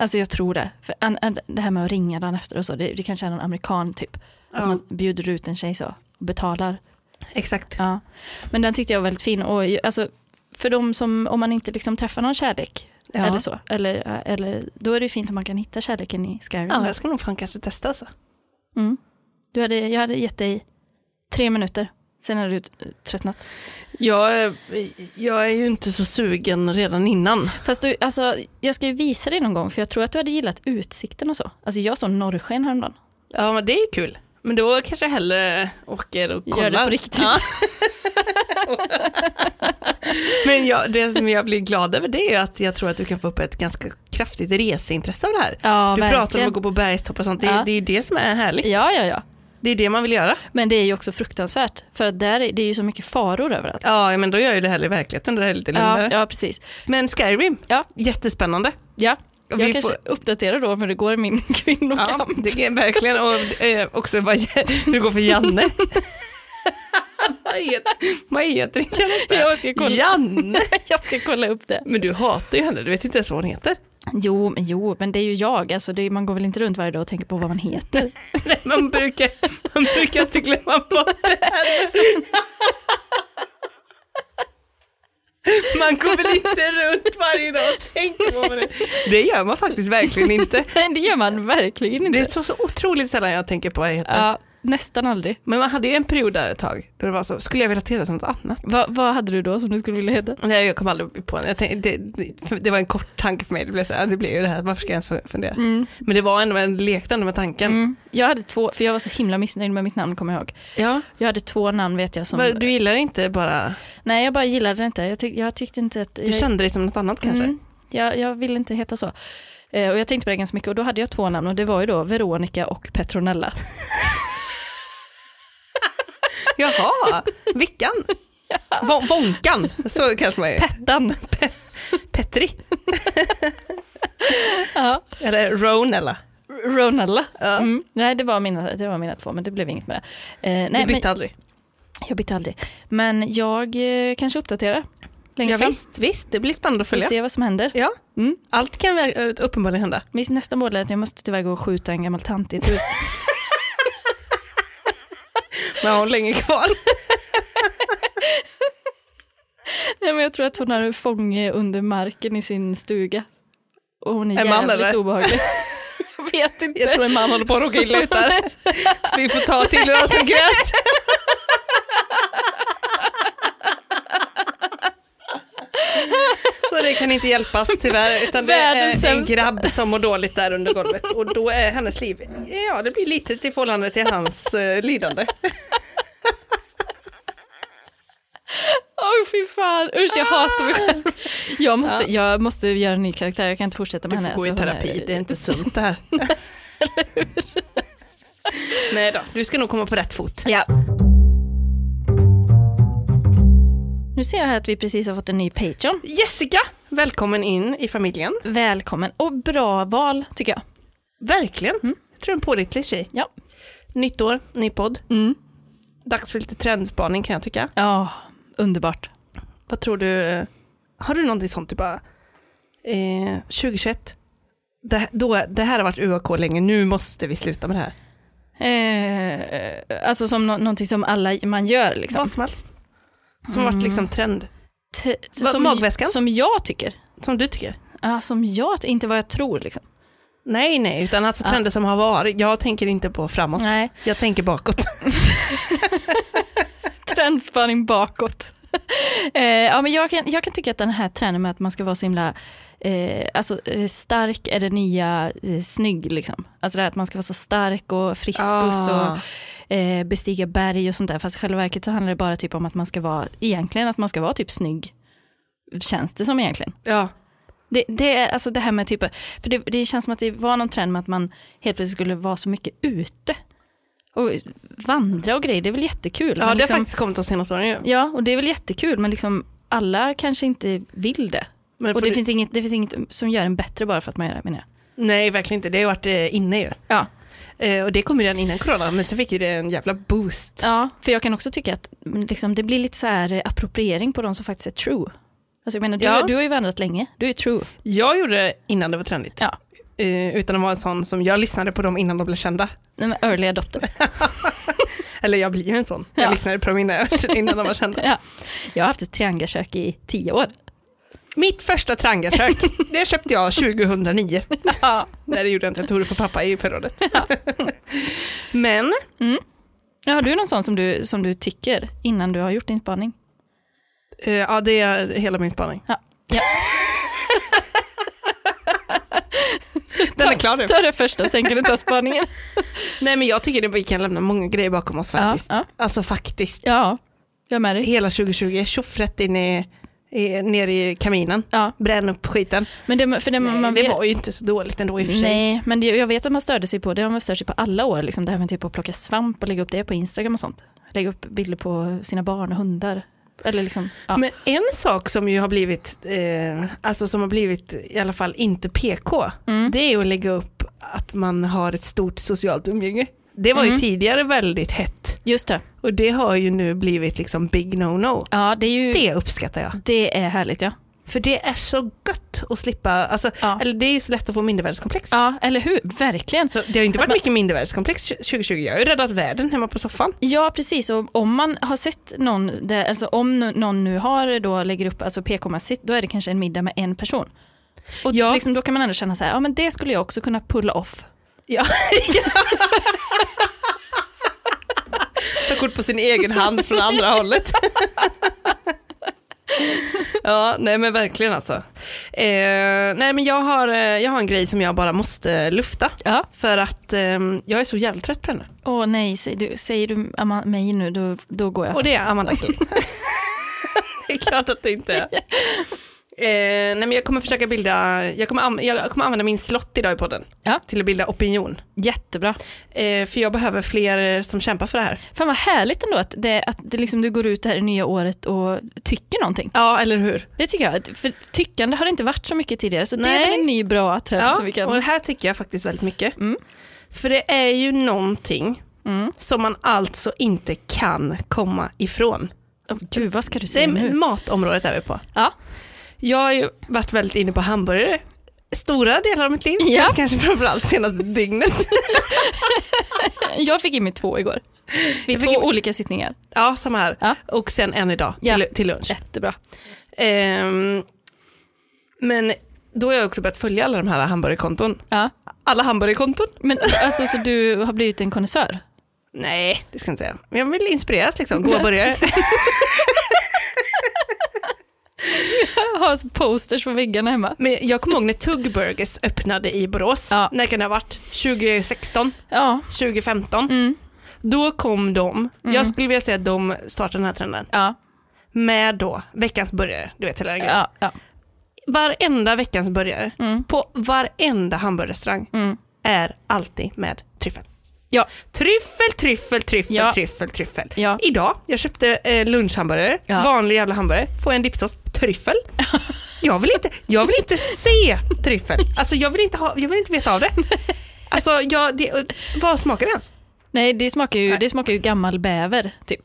Alltså jag tror det. För an, an, det här med att ringa dagen efter och så, det, det kanske är någon amerikan typ. Att Ja. man bjuder ut en tjej så och betalar. Exakt. Ja. Men den tyckte jag var väldigt fin. Och, ju- alltså, för de som, om man inte liksom träffar någon kärlek Ja. Eller så. Eller, eller, då är det ju fint om man kan hitta kärleken i Skyrim. Ja, jag ska nog fan kanske testa alltså. Mm. Du hade, jag hade gett dig tre minuter, sen hade du eh, tröttnat. Jag, är- jag är ju inte så sugen redan innan. Fast du, alltså, jag ska ju visa dig någon gång, för jag tror att du hade gillat utsikten och så. Alltså jag såg norrsken häromdagen. Ja, men det är ju kul. Men då kanske jag hellre åker och Gör kollar. det på riktigt. Ja. men jag, det som jag blir glad över det är ju att jag tror att du kan få upp ett ganska kraftigt reseintresse av det här. Ja, du pratar om att gå på bergstopp och sånt. Det, Ja. det är ju det som är härligt. Ja, ja, ja. Det är det man vill göra. Men det är ju också fruktansvärt, för att där är, det är ju så mycket faror överallt. Ja, men då gör ju det här i verkligheten. Då är det lite lugnare. Ja, ja precis. Men Skyrim, Ja. jättespännande. Ja. Och Jag vi kanske uppdaterar då hur det går i min Ja, kvinnokamp. det är verkligen. Och eh, också vad hur det går för Janne. vad heter, vad heter karaktären? Jag ska kolla. Janne! Jag ska kolla upp det. Men du hatar ju henne, du vet inte ens vad hon heter. Jo, men, jo, men det är ju jag. Alltså, det, är- man går väl inte runt varje dag och tänker på vad man heter. Nej, man, brukar, man brukar inte glömma bort det heller. Man går väl inte runt varje dag och tänker på det. Det gör man faktiskt verkligen inte. Nej, det gör man verkligen Det inte. är så, så otroligt sällan jag tänker på vad jag heter. Ja, nästan aldrig. Men man hade ju en period där ett tag då det var så, skulle jag vilja heta något annat? Va, vad hade du då som du skulle vilja heta? Nej, jag kom aldrig på en. Jag tänkte, det, det, för det var en kort tanke för mig, det blev så här, det blev ju det här, varför ska jag ens fundera? Men det var ändå, man lekte ändå med tanken. Mm. Jag hade två, för jag var så himla missnöjd med mitt namn kommer jag ihåg. Ja, Jag hade två namn vet jag som... var, du gillar inte bara, Nej, jag bara gillade det inte. Jag, tyck, jag tyckte inte att... du jag, kände dig som något annat kanske? Mm. jag, jag ville inte heta så. Eh, och jag tänkte på det ganska mycket och då hade jag två namn och det var ju då Veronica och Petronella. Jaha, Vickan? Von- Vonkan, så kanske man ju. Pettan! Petri, Ja. eller Ronella. Ronella. Ja. Mm. Nej, det var, mina, det var mina två men det blev inget med det. Eh, nej, du bytte men, aldrig? jag bytte aldrig. Men jag eh, kanske uppdaterar längre Ja, fram. visst, visst, det blir spännande att Vi följa. får se vad som händer. Ja, Mm. allt kan väl- uppenbarligen hända. Mitt nästa mål är att jag måste tyvärr gå och skjuta en gammal tant i ett hus. Men har hon länge kvar? Nej, men jag tror att hon har en fånge under marken i sin stuga. Och hon är En man, jävligt eller? obehaglig. jag vet inte. Jag tror en man håller på att råka illa ut där. Så vi får ta till oss en gräs. Så det kan inte hjälpas tyvärr, utan det Världens är en sämsta. grabb som mår dåligt där under golvet och då är hennes liv, ja det blir litet i förhållande till hans eh, lidande. Åh fy fan, usch jag hatar mig själv. Jag måste, jag måste göra en ny karaktär, jag kan inte fortsätta Du med får henne. gå i Alltså, hon terapi, är- det är inte sunt det här. Nej då, du ska nog komma på rätt fot. Ja. Nu ser jag här att vi precis har fått en ny Patreon. Jessica, välkommen in i familjen. Välkommen och bra val tycker jag. Verkligen, jag tror en pålitlig tjej. Mm. Ja. Nytt år, ny podd. Dags för lite trendspaning kan jag tycka. Ja, underbart. Vad tror du? eh, Har du någonting sånt du bara, eh, 2021, det, då, det här har varit UAK länge, nu måste vi sluta med det här. Eh, alltså som no- någonting som alla man gör liksom. Vad som helst. Som har varit Mm. liksom trend, T- Vad- magväskan? Som jag tycker. som du tycker. Ja, som jag, inte vad jag tror liksom. Nej, nej, utan alltså Ja. trender som har varit. Jag tänker inte på framåt, Nej, jag tänker bakåt. trendspaning bakåt. eh, ja, men jag, kan, jag kan tycka att den här trenden med att man ska vara så himla eh, alltså, eh, stark är det nya eh, snygg. Liksom. Alltså det här att man ska vara så stark och frisk och så, Ah. eh, bestiga berg och sånt där. Fast i själva verket så handlar det bara typ om att man ska vara, egentligen att man ska vara typ snygg. Känns det som egentligen. Ja. Det, det, är alltså det här med typ, för det, det känns som att det var någon trend med att man helt plötsligt skulle vara så mycket ute. Och vandra och grejer, det är väl jättekul. ja, det men har liksom- faktiskt kommit de senaste åren ju. Ja, och det är väl jättekul, men liksom alla kanske inte vill det. Men och får det, du- finns inget, det finns inget som gör en bättre bara för att man gör det, menar jag. Nej, verkligen inte. Det har varit eh, inne ju. Ja. Eh, och det kom ju redan innan corona, men sen fick ju det en jävla boost. ja, för jag kan också tycka att mm, liksom, det blir lite så här eh, appropriering på de som faktiskt är true. Alltså jag menar, du, Ja. du har ju vandrat länge, du är ju true. Jag gjorde det innan det var trendigt. Ja. Eh, utan att vara en sån som jag lyssnade på dem innan de blev kända. Nej, men Early adopter. Eller jag blir ju en sån. Ja. Jag lyssnade på dem innan, jag- innan de var kända. ja. Jag har haft ett triangakök i tio år. Mitt första trangiakök, det köpte jag 2009. Nej det gjorde jag inte, jag tog det från pappa i förrådet. Men Ja, har du någon sån som du, som du tycker innan du har gjort din spaning? eh, ja, det är hela min spaning. Ja. Ja. Den är klar nu. Ta det första, sen kan du ta spaningen. Nej men jag tycker det, vi kan lämna många grejer bakom oss faktiskt. Ja, Alltså faktiskt. Ja, jag är med dig. Hela 2020, tjoff rätt in i, i, ner i kaminen. Ja. Bränn upp skiten. Men det, för det, Nej, man det vet, var ju inte så dåligt ändå i och för sig. nej, men det, jag vet att man störde sig på, det har man stört sig på alla år, liksom det här med typ att plocka svamp och lägga upp det på Instagram och sånt. Lägga upp bilder på sina barn och hundar. Eller liksom, ja. Men en sak som ju har blivit, eh, alltså som har blivit i alla fall inte PK, Mm. det är ju att lägga upp att man har ett stort socialt umgänge. Det var Mm. ju tidigare väldigt hett just det. och det har ju nu blivit liksom big no-no. Ja, det är ju, det, Det uppskattar jag. är härligt ja. För det är så gött att slippa, alltså, Ja. eller det är ju så lätt att få mindervärdeskomplex. Ja, eller hur? Verkligen. Så det har ju inte varit mycket mindervärdeskomplex 2020, jag har ju räddat världen hemma på soffan. Ja, precis. Och om man har sett någon, där, alltså om nu- någon nu har då lägger upp alltså PK-mässigt, då är det kanske en middag med en person. Och Ja. liksom, då kan man ändå känna så här, ja men det skulle jag också kunna pulla off. Ja. Ta kort på sin egen hand från andra hållet. ja, nej men verkligen alltså. Eh, nej men jag har, eh, jag har en grej som jag bara måste lufta. Ja. För att eh, jag är så jävligt trött på henne. Åh nej, säger du, säger du Ama- mig nu, då, då går jag. Och det är Amanda Klint. det är klart att det inte är. Eh, nej men jag kommer försöka bilda, jag kommer, an- jag kommer använda min slott idag i podden Ja. till att bilda opinion. Jättebra. Eh, för jag behöver fler eh, som kämpar för det här. Fan vad härligt ändå att, det, att det liksom, du går ut det här i nya året och tycker någonting. Ja, eller hur? Det tycker jag, för tyckande har det inte varit så mycket tidigare, så det är Nej. väl en ny bra trend Ja, som vi kan... och det här tycker jag faktiskt väldigt mycket. Mm. För det är ju någonting Mm. som man alltså inte kan komma ifrån. Åh, gud, vad ska du Det säga är nu? matområdet är vi på. Ja. Jag har ju varit väldigt inne på hamburgare stora delar av mitt liv. Ja. Kanske framförallt senaste dygnet. Jag fick in mig två igår. Vid två Jag fick in- olika sittningar. ja, samma här. Ja. Och sen en idag Ja. till, till lunch. Jättebra. Ehm, men då har jag också börjat följa alla de här hamburgerkonton. Ja. Alla hamburgerkonton? Men alltså, så du har blivit en konnässör? Nej, det ska jag inte säga. Men jag vill inspireras liksom. Goda burgare. Jag har alltså posters på väggarna hemma. Men jag kommer ihåg när Tug Burgers öppnade i Borås. Ja. När kan det ha varit? 2016, Ja. 2015. Mm. Då kom de. Jag skulle vilja säga att de startade den här trenden. Ja. Med då veckans burgare. Du vet hela den grejen. Ja. ja. Varenda veckans burgare Mm. på varenda hamburgerrestaurang Mm. är alltid med tryffel. Ja. Tryffel, tryffel, tryffel, Ja. tryffel, tryffel. Ja. Idag, jag köpte eh, lunchhamburgare, Ja. vanlig jävla hamburgare, får jag en dipsås, tryffel. Jag vill, inte, jag vill inte se tryffel. Alltså jag vill inte, ha, jag vill inte veta av det. Alltså jag, det, vad smakar det ens? Nej, det smakar, ju, det smakar ju gammal bäver, typ.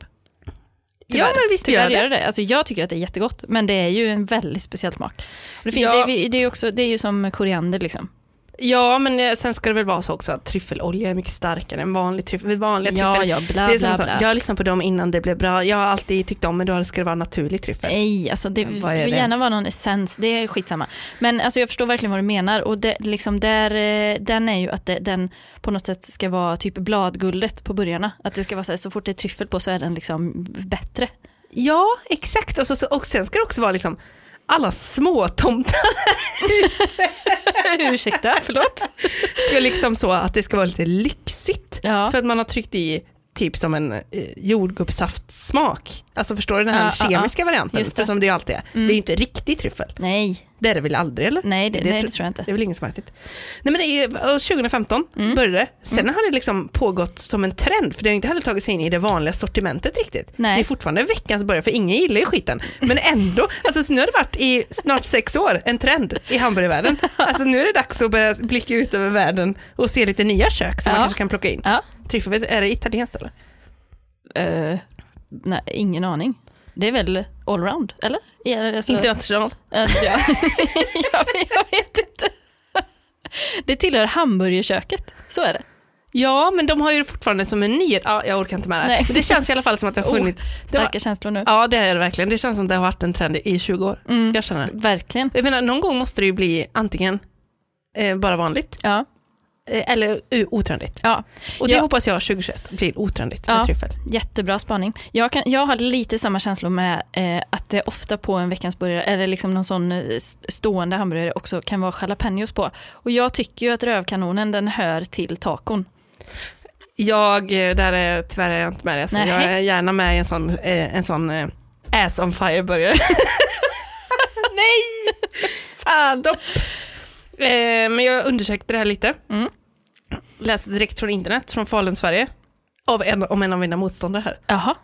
ja men visst Tyvärr gör det. gör det. Alltså, jag tycker att det är jättegott, men det är ju en väldigt speciell smak. Och Det, finns, Ja. det, är, vi- det, är också, det är ju som koriander liksom. Ja men eh, sen ska det väl vara så också att tryffelolja är mycket starkare än vanlig tryffel. Vid vanliga Ja, tryffel, ja, bla det är som bla så, bla. jag lyssnade på dem innan det blev bra, jag har alltid tyckt om men då ska det vara naturlig tryffel. Nej, alltså det Vad får är det gärna ens? vara någon essens, det är skitsamma. Men alltså jag förstår verkligen vad du menar och det, liksom där, eh, den är ju att det, den på något sätt ska vara typ bladguldet på burgarna. Att det ska vara så här, så fort det är tryffel på så är den liksom bättre. Ja, exakt. Och, så- så, och sen ska det också vara liksom alla små tomtar Ursäkta, förlåt. ska liksom så att det ska vara lite lyxigt. Ja. För att man har tryckt i typ som en eh, jordgubbssaftsmak. Alltså förstår du den här Ja, ja, kemiska varianten? Just det. Mm. För som det ju alltid är. Det är ju inte riktig tryffel. Nej, Det är det väl aldrig eller? nej, det, Det nej, tro- det tror jag inte. Det är väl ingen som har ätit. Nej men det är, ju- och 2015 Mm. började det. Sen har det liksom pågått som en trend för det har inte heller tagit sig in i det vanliga sortimentet riktigt. Nej. Det är fortfarande veckans början för ingen gillar ju skiten. Men ändå, alltså så nu har det varit i snart sex år en trend i hamburgervärlden. Alltså nu är det dags att börja blicka ut över världen och se lite nya kök som Ja. man kanske kan plocka in. Ja. Tryffel, är det italienskt eller? Eh, nej, ingen aning. Det är väl allround, eller? Ja, alltså- International. Eh, ja. jag, jag vet inte. Det tillhör hamburgerköket, så är det. Ja, men de har ju det fortfarande som en nyhet. Ja, jag orkar inte med det. Nej. här. Det känns i alla fall som att det har Oh, funnits. det Starka var, känslor nu. ja, det är det verkligen. Det känns som att det har varit en trend i 20 år. Mm. Jag känner det. Verkligen. Jag menar, någon gång måste det ju bli antingen eh, bara vanligt Ja. eh, eller eh, otrendigt. ja, Och det Ja. hoppas jag 2021 blir otrendigt med Ja. tryffel. jättebra spaning. Jag, kan, jag har lite samma känslor med eh, att det ofta på en veckans burgare eller liksom någon sån eh, s- stående hamburgare också kan vara jalapenos på. Och jag tycker ju att rövkanonen den hör till tacon. Jag, eh, där är, tyvärr är jag inte med det. Så Nej. jag är gärna med i en sån, eh, en sån eh, ass on fire burgare. Nej! Fan. Stopp. Eh, men jag undersökte det här lite. Mm. Läste direkt från internet, från Falun, Sverige. Av en, om en av mina motståndare här. Jaha.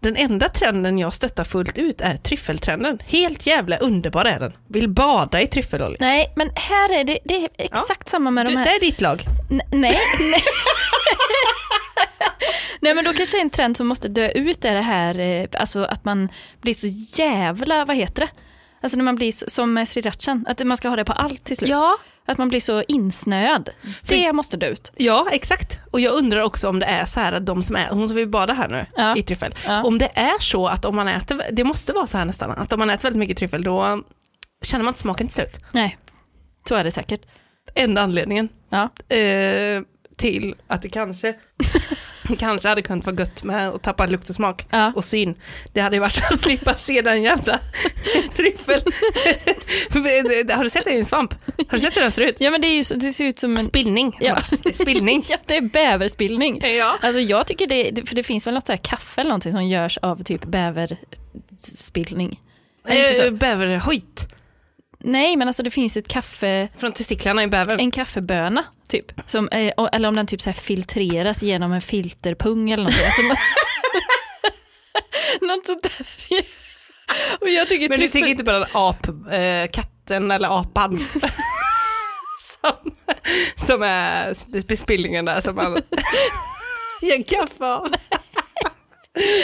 Den enda trenden jag stöttar fullt ut är tryffeltrenden. Helt jävla underbar är den. Vill bada i tryffelolja. Nej, men här är det, det är exakt samma med Du, de här. det är ditt lag. N- nej, nej. nej, men då kanske en trend som måste dö ut är det här eh, alltså att man blir så jävla, vad heter det? Alltså när man blir så, som med srirachan, att man ska ha det på allt till slut. Ja. Att man blir så insnöad. Det måste dö ut. Ja, exakt. Och jag undrar också om det är så här att de som är, hon som vill bada här nu Ja. i tryffel, Ja. om det är så att om man äter, det måste vara så här nästan, att om man äter väldigt mycket tryffel då känner man inte smaken till slut. Nej, så är det säkert. Enda anledningen Ja. eh, till att det kanske, kanske hade kunnat vara gött med att tappa lukt och smak Ja. och syn. Det hade ju varit att slippa se den jävla tryffel. Har du sett det i en svamp? Har du sett hur den ser ut? ja, men det, är ju, så- det ser ut som en... Spillning. Ja. Spillning. ja, det är bäverspillning. Ja. Alltså jag tycker det, det- för det finns väl något så här kaffe eller någonting som görs av typ bäverspillning. Är det inte så? Eh, Bäverhöjt. Nej, men alltså det finns ett kaffe... Från testiklarna i bävern. en kaffeböna typ. Som, eh, och- eller om den typ så här filtreras genom en filterpung eller något. Alltså, nå- något sånt där. Och jag tycker Men du tryffel- tänker inte på den ap, eh, katten eller apan? som, som är sp- sp- spillningen där som man gör kaffe av.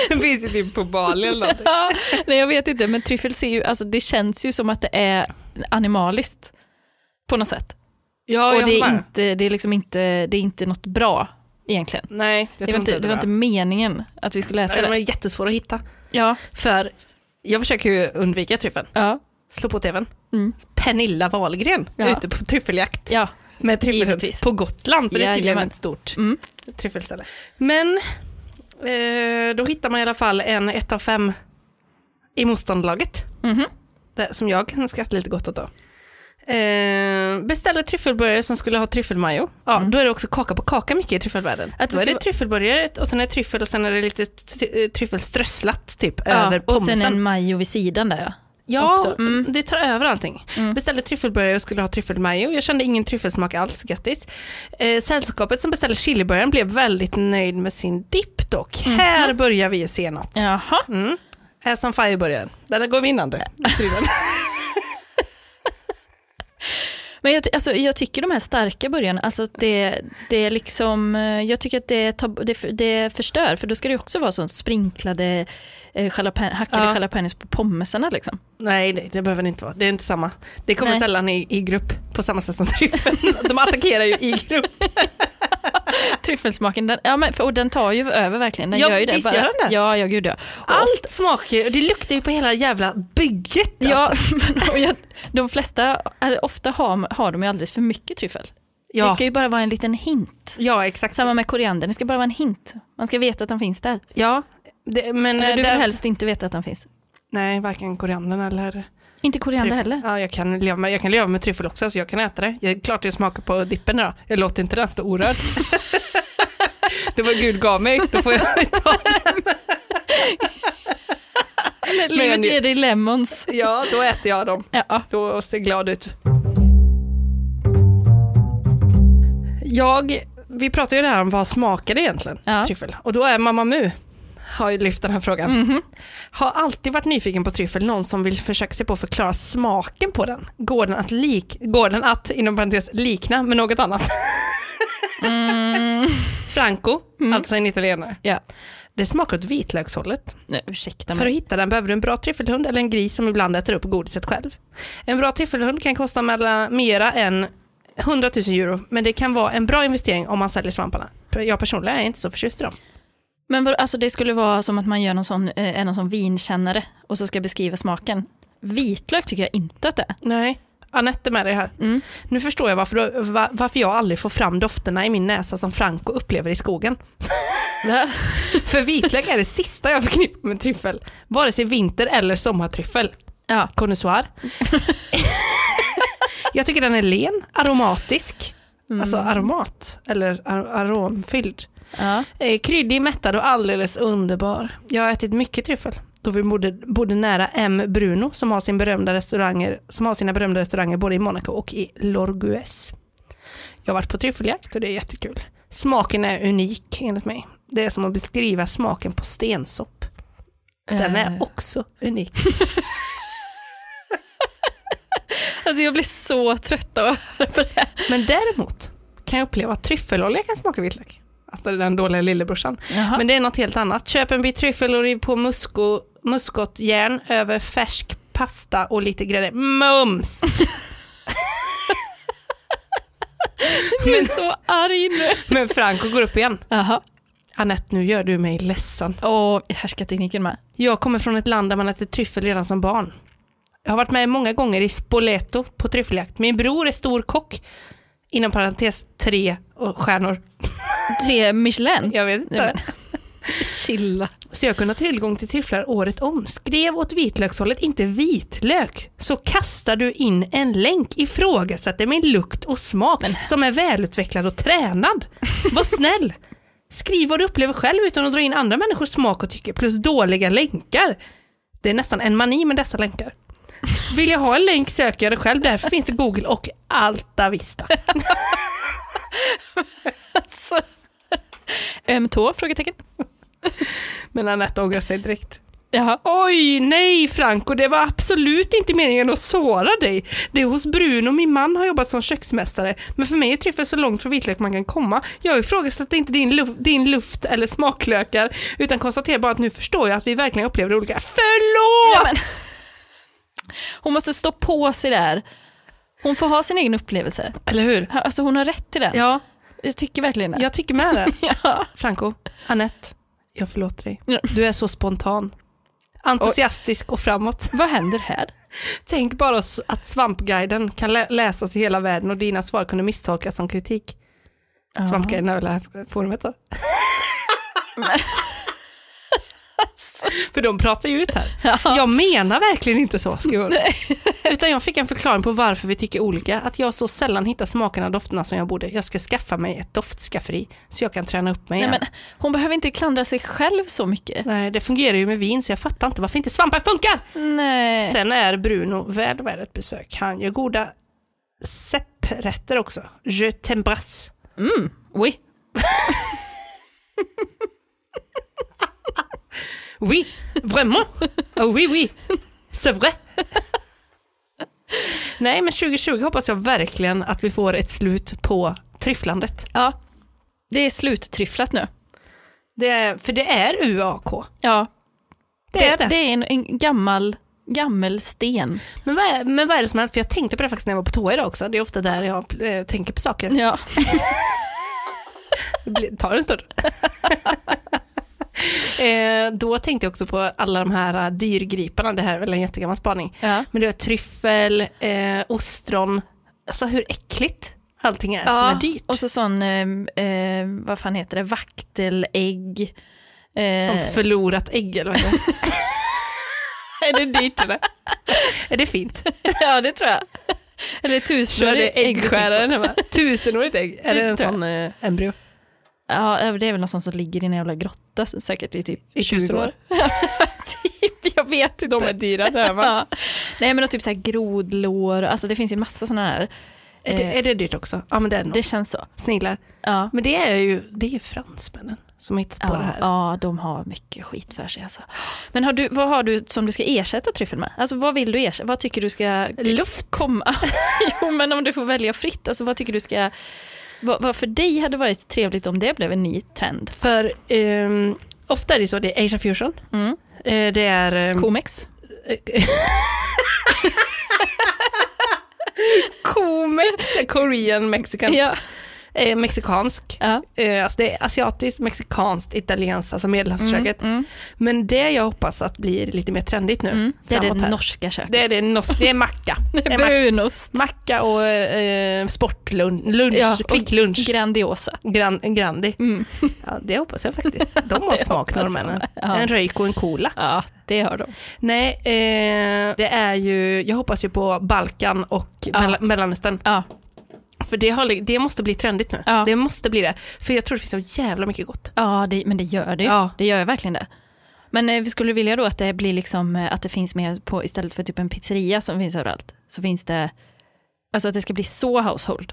Den finns ju typ på Bali eller någonting. Ja, nej jag vet inte, men tryffel ser ju, alltså det känns ju som att det är animaliskt på något sätt. Ja, och det är, inte, det är liksom inte, det är inte något bra egentligen. Nej, jag Det var, tror inte, inte det var inte meningen att vi skulle Nej, äta De är det. jättesvåra att hitta. Ja, För jag försöker ju undvika tryffeln. ja, Slå på tvn. Mm. Pernilla Wahlgren Ja. ute på tryffeljakt. ja. med tryffeln givetvis. på Gotland, för det är tydligen Jajamän. ett stort Mm. tryffelställe. Men eh, då hittar man i alla fall en 1 av 5 i motståndarlaget, Mhm. det- som jag kan skratta lite gott åt då. Eh, beställde tryffelburgare som skulle ha tryffelmajo. Ja, Då är det också kaka på kaka mycket i tryffelvärlden. Mm. Att det då är ska det vara- tryffelburgare och sen är det tryffel och sen är det lite t- tryffelströsslat typ över ja. Och sen en pommesen. majo vid sidan där ja. Ja, också. Mm. det tar över allting. Beställde tryffelburgare och skulle ha tryffelmajo. Jag kände ingen tryffelsmak alls, grattis. Eh, sällskapet som beställde chiliburgaren blev väldigt nöjd med sin dipp dock. Mhm. Här börjar vi ju se något. Jaha. Mm. Här som fireburgaren. Den går vinnande. Men jag, ty- alltså, jag tycker de här starka början, alltså att det, det är liksom, eh, jag tycker att det, tar, det, för- det förstör för då ska det ju också vara sån sprinklade eh, jalapen, hackade Ja. jalapenos på pommesarna liksom. Nej, nej, det behöver det inte vara. Det är inte samma. Det kommer Nej. sällan i, i grupp på samma sätt som tryffeln. De attackerar ju i grupp. Tryffelsmaken, den, ja, men, för, och den tar ju över verkligen. Den Ja, gör ju det. visst gör den det. Ja, ja gud ja. Och Allt smakar ju, det luktar ju på hela jävla bygget. Ja, alltså. men, och jag, de flesta, eller ofta har, har de ju alldeles för mycket tryffel. Det ja. ska ju bara vara en liten hint. ja exakt. Samma med koriander, det ska bara vara en hint. Man ska veta att den finns där. Ja, det, men eh, Eller du vill där- helst inte veta att den finns. Nej, varken koriandern eller Inte koriander tryffel. heller. Ja, jag kan leva med, jag kan leva med tryffel också, så jag kan äta det. Jag, klart jag smakar på dippen idag. Jag låter inte den stå orörd. det var Gud gav mig, då får jag ta Men- Livet ger dig lemons. Ja, då äter jag dem. Ja. Då ser jag glad ut. Jag, vi pratar ju det här om vad smakar det egentligen, Ja. tryffel. Och då är Mamma Mu, har ju lyft den här frågan. Har alltid varit nyfiken på tryffel, någon som vill försöka sig på att förklara smaken på den. Går den att, lik, går den att inom parentes, likna med något annat? Franco, alltså en italienare. Ja. Det smakar åt vitlökshållet. Nej, ursäkta För att mig. hitta den behöver du en bra tryffelhund eller en gris som ibland äter upp godiset själv. En bra tryffelhund kan kosta mellan mera än 100 000 euro, men det kan vara en bra investering om man säljer svamparna. Jag personligen är inte så förtjust i dem. Men vad, alltså det skulle vara som att man gör någon sån, eh, är någon sån vinkännare och så ska beskriva smaken. Vitlök tycker jag inte att det är. Nej. Anette med dig här. Mm. Nu förstår jag varför, du- va- varför jag aldrig får fram dofterna i min näsa som Franco upplever i skogen. För vitlök är det sista jag förknippar med tryffel. Vare sig vinter eller sommartryffel. Ja. Konnässör. jag tycker den är len, aromatisk. Alltså aromat eller ar- aromfylld. ja. Eh, Kryddig, mättad och alldeles underbar. Jag har ätit mycket tryffel då vi bodde, bodde nära M. Bruno som har, sin berömda restauranger, som har sina berömda restauranger både i Monaco och i Lorgues. Jag har varit på tryffeljakt och det är jättekul. Smaken är unik enligt mig. Det är som att beskriva smaken på stensopp. Den är Eh. också unik. Alltså jag blir så trött av att höra på det här. Men däremot kan jag uppleva att tryffelolja kan smaka vitlök. Alltså den dåliga lillebrorsan. Jaha. Men det är något helt annat. Köp en bit tryffel och riv på musko, muskotjärn över färsk pasta och lite grädde. Mums! jag är så arg nu. Men Franco går upp igen. Jaha. Annette, nu gör du mig ledsen. Och härskartekniken med. Jag kommer från ett land där man äter tryffel redan som barn. Jag har varit med många gånger i Spoleto på tryffeljakt. Min bror är stor kock. Inom parentes tre och stjärnor. Tre Michelin. Jag vet Nej, inte. Chilla. Så jag kunde ha tillgång till tryfflar året om. Skrev åt vitlökshållet inte vitlök så kastar du in en länk ifrågasätter min lukt och smak som är välutvecklad och tränad. Var snäll! Skriv vad du upplever själv utan att dra in andra människors smak och tycke plus dåliga länkar. Det är nästan en mani med dessa länkar. Vill jag ha en länk söker jag det själv, därför finns det Google och Alta Vista. Öm tå? Frågetecken. Men Anette ångrar sig direkt. Jaha. Oj, nej Franco, det var absolut inte meningen att såra dig. Det är hos Bruno min man har jobbat som köksmästare, men för mig är tryffel så långt från vitlök man kan komma. Jag ifrågasätter inte din, luf- din luft eller smaklökar, utan konstaterar bara att nu förstår jag att vi verkligen upplever olika. Förlåt! Ja, men. Hon måste stå på sig där. Hon får ha sin egen upplevelse. Eller hur? Alltså hon har rätt till den. Ja, Jag tycker verkligen det. jag tycker med det. Ja. Franco, Annette, jag förlåter dig. Ja. Du är så spontan. Entusiastisk och framåt. Vad händer här? Tänk bara s- att Svampguiden kan lä- läsas i hela världen och dina svar kunde misstolkas som kritik. Svampguiden är väl det här forumet då? För de pratar ju ut här. Jag menar verkligen inte så, ska jag. Utan jag fick en förklaring på varför vi tycker olika. Att jag så sällan hittar smakerna och dofterna som jag borde. Jag ska skaffa mig ett doftskafferi så jag kan träna upp mig Nej, igen. men hon behöver inte klandra sig själv så mycket. Nej, det fungerar ju med vin så jag fattar inte varför inte svampar funkar. Nej. Sen är Bruno väl värd ett besök. Han gör goda sepprätter också. Je t'embrasse. Oui. Oui, vraiment. Oh, oui, oui. C'est vrai. Nej, men 2020 hoppas jag verkligen att vi får ett slut på tryfflandet. Ja. Det är sluttryfflat nu. Det är, för det är UAK. Ja. Det är det. Det är en, en gammal, gammal sten. Men vad, är, men vad är det som helst? För jag tänkte på det faktiskt när jag var på toa idag också. Det är ofta där jag eh, tänker på saker. Ja. Det blir- tar en stund. eh, då tänkte jag också på alla de här eh, dyrgriparna. Det här är väl en jättegammal spaning. ja. Men det är tryffel, eh, ostron. Alltså hur äckligt allting är som ja. är dyrt. Och så sån, ehm, eh, vad fan heter det, vaktelägg. Eh, Sånt förlorat ägg eller vad heter det? är det dyrt eller? Är det fint? ja det tror jag. Eller tusenårig äggskärare. hemma. Tusenårigt ägg. Är det en tror jag. sån eh, embryo? Ja det är väl någon sån som ligger i en jävla grotta säkert i typ I 20 år. typ, jag vet inte. De är dyra det Ja. Nej men och typ så här grodlår, alltså det finns ju massa sådana här. Är det, är det dyrt också? Ja men det är Eh. det nog. Det känns så. Sniglar. Ja. Men det är ju, det är ju fransmännen som har hittat på det Ja, här. ja, de har mycket skit för sig alltså. Men har du, vad har du som du ska ersätta tryffeln med? Alltså vad vill du ersätta? Vad tycker du ska Luft. komma? jo men om du får välja fritt, alltså vad tycker du ska, vad, vad för dig hade varit trevligt om det blev en ny trend? För ehm, ofta är det så, det är Asia Fusion. Mm. Eh, det är... ehm, Comex? Komex. Korean, mexican, Ja. eh, mexikansk. Ja. Eh, alltså det är asiatiskt, mexikanskt, italienskt, alltså medelhavsköket. Mm. Men det jag hoppas att blir lite mer trendigt nu. Det är Mm. framåt det här. norska köket. det är det norska, det är macka. Det är mac- Brunost. macka och eh, sportlunch, lunch, Ja, och quicklunch. Grandiosa. Gran, grandi. Mm. Ja, det hoppas jag faktiskt. De har smak jag. norrmännen. Ja. En röjk och en cola. Ja, det har de. Nej, eh, det är ju, jag hoppas ju på Balkan och Ja. Mella- Mellanöstern. Ja. För det, har, det måste bli trendigt nu. Ja. Det måste bli det. För jag tror det finns så jävla mycket gott. Ja, det, men det gör det ju. Ja. Det gör jag verkligen det. Men eh, vi skulle vilja då att det blir liksom eh, att det finns mer på istället för typ en pizzeria som finns överallt. Så finns det, alltså att det ska bli så household.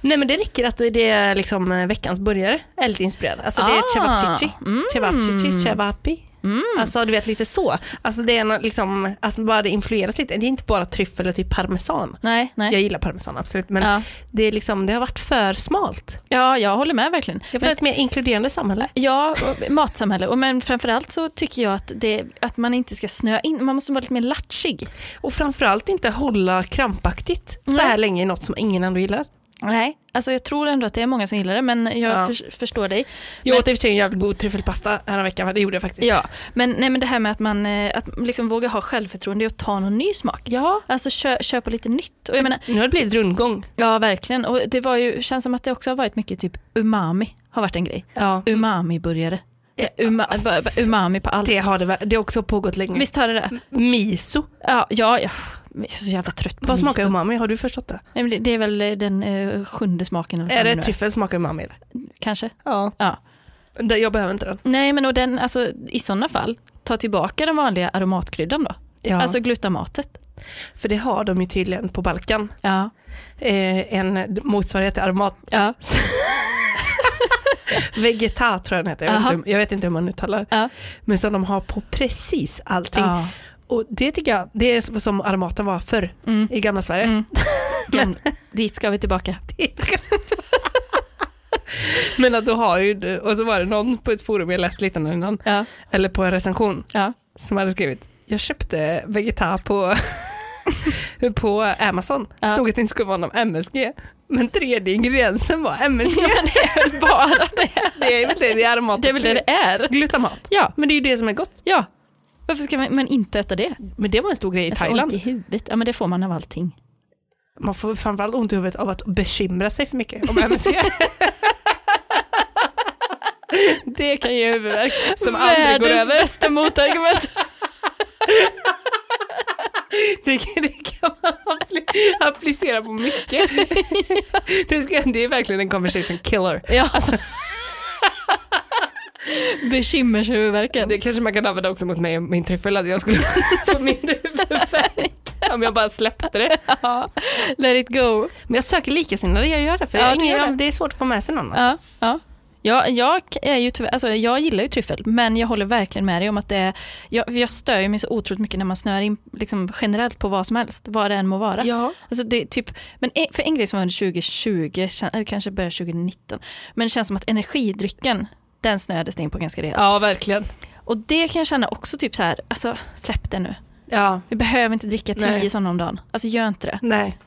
Nej men det räcker att det är liksom eh, veckans burgare är lite inspirerad. Alltså det är Ah. Mm. cevachichi, cevachichi, cevapi. Alltså du vet lite så. Alltså det är nå- liksom, alltså bara det influeras lite. Det är inte bara tryffel och typ parmesan. Nej, nej. Jag gillar parmesan absolut men Ja. det, är liksom, det har varit för smalt. Ja, jag håller med verkligen. Jag vill Men- ha ett mer inkluderande samhälle. Ja, och matsamhälle. Och men framförallt så tycker jag att, det, att man inte ska snöa in, man måste vara lite mer latchig. Och framförallt inte hålla krampaktigt så Nej. här länge i något som ingen ändå gillar. Nej. Alltså jag tror ändå att det är många som gillar det, men jag Ja. förs- förstår dig. Jag Men- åt i och för sig en jävligt god tryffelpasta häromveckan, det gjorde jag faktiskt. Ja, men, nej, men det här med att man eh, att liksom våga ha självförtroende och ta någon ny smak. ja. Alltså kö, köpa lite nytt. Och jag menar, Nu har det blivit rundgång. ja, verkligen. Och det var ju, känns som att det också har varit mycket typ umami, har varit en grej. Ja. Umami-burgare. Uma, bara- bara umami på allt. Det har det, väl- det har också pågått länge. Visst har det det? Miso. Ja, ja, ja. Jag är så jävla trött på Vad smakar miso. umami? Har du förstått det? Nej, men det- Det är väl eh, den eh, sjunde smaken. Eller vad Är fan det nu tryffel smakar umami? Eller? Kanske. Ja. Ja. Det- Jag behöver inte den. Nej, men och den, alltså, i sådana fall, ta tillbaka den vanliga aromatkryddan då. Ja. Alltså glutamatet. för det har de ju tydligen på Balkan. Ja. Eh, en motsvarighet till aromat. Ja. Vegeta tror jag den heter. Jag vet, Aha. inte, jag vet inte hur man uttalar. Ja. Men som de har på precis allting. ja. Och det tycker jag, det är som- som aromaten var förr Mm. i gamla Sverige. Mm. Men, dit ska vi tillbaka. Men att du har ju, du- och så var det någon på ett forum jag läste lite innan, Ja. eller på en recension Ja. som hade skrivit, jag köpte Vegeta på, på Amazon, Ja. stod att det inte skulle vara någon MSG, men tredje ingrediensen var MSG. ja, men det är väl bara det. Det är väl det, det är aromat. Det är väl det det är. Glutamat. Ja. Men det är ju det som är gott. ja. Varför ska man, man inte äta det? Men det var en stor grej i Jag får Thailand. ont i huvudet. Ja, men det får man av allting. Man får framförallt ont i huvudet av att bekymra sig för mycket om MSG. det kan ge huvudvärk som aldrig går Världens över. bästa motargument. Det kan, det kan man appli- applicera på mycket. Det, ska, det är verkligen en conversation killer. ja. Bekymmershuvudvärken. Det kanske man kan använda också mot mig och min tryffel, att jag skulle få mindre huvudvärk om jag bara släppte det. Ja. Let it go. Men jag söker likasinnade, jag gör det. För Ja, jag har du ingen- gör det. är svårt att få med sig någon. alltså. Ja, ja. Ja, jag, är ju tyvärr, alltså, jag gillar ju tryffel, men jag håller verkligen med dig om att det är, jag, jag stör ju mig så otroligt mycket när man snör in liksom, generellt på vad som helst, vad det än må vara. Ja. Alltså, det, är typ, men en- för en grej som var under 2020, kän- eller kanske början 2019, men det känns som att energidrycken, den snöades det in på ganska rejält. ja, verkligen. Och det kan jag känna också typ så här, alltså släpp det nu. Ja. Vi behöver inte dricka tio Nej. sådana om dagen. Alltså gör inte det. Nej.